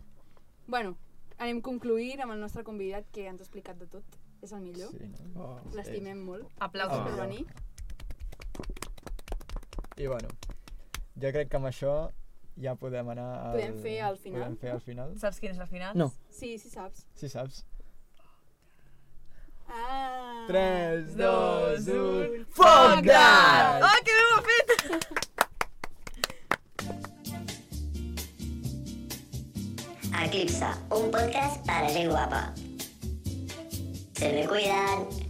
[SPEAKER 2] Bueno, anem concluint amb el nostre convidat que ens ha explicat de tot. És el millor.
[SPEAKER 3] Sí, no?
[SPEAKER 5] Oh.
[SPEAKER 2] L'estimem molt.
[SPEAKER 4] Aplausos.
[SPEAKER 2] Gràcies per
[SPEAKER 3] Ah.
[SPEAKER 2] venir.
[SPEAKER 3] I bueno, jo crec que amb això ja podem anar... Al...
[SPEAKER 2] Podem fer al final?
[SPEAKER 3] Podem fer al final,
[SPEAKER 4] Saps quin és la final?
[SPEAKER 5] No.
[SPEAKER 2] Sí, sí saps.
[SPEAKER 3] si saps.
[SPEAKER 2] Ah.
[SPEAKER 3] 3, 2, 1... Oh,
[SPEAKER 4] Foc d'art! Ah, Oh, que bé ho ha fet!
[SPEAKER 1] Eclipse, un podcast para gent guapa. Se me cuidan.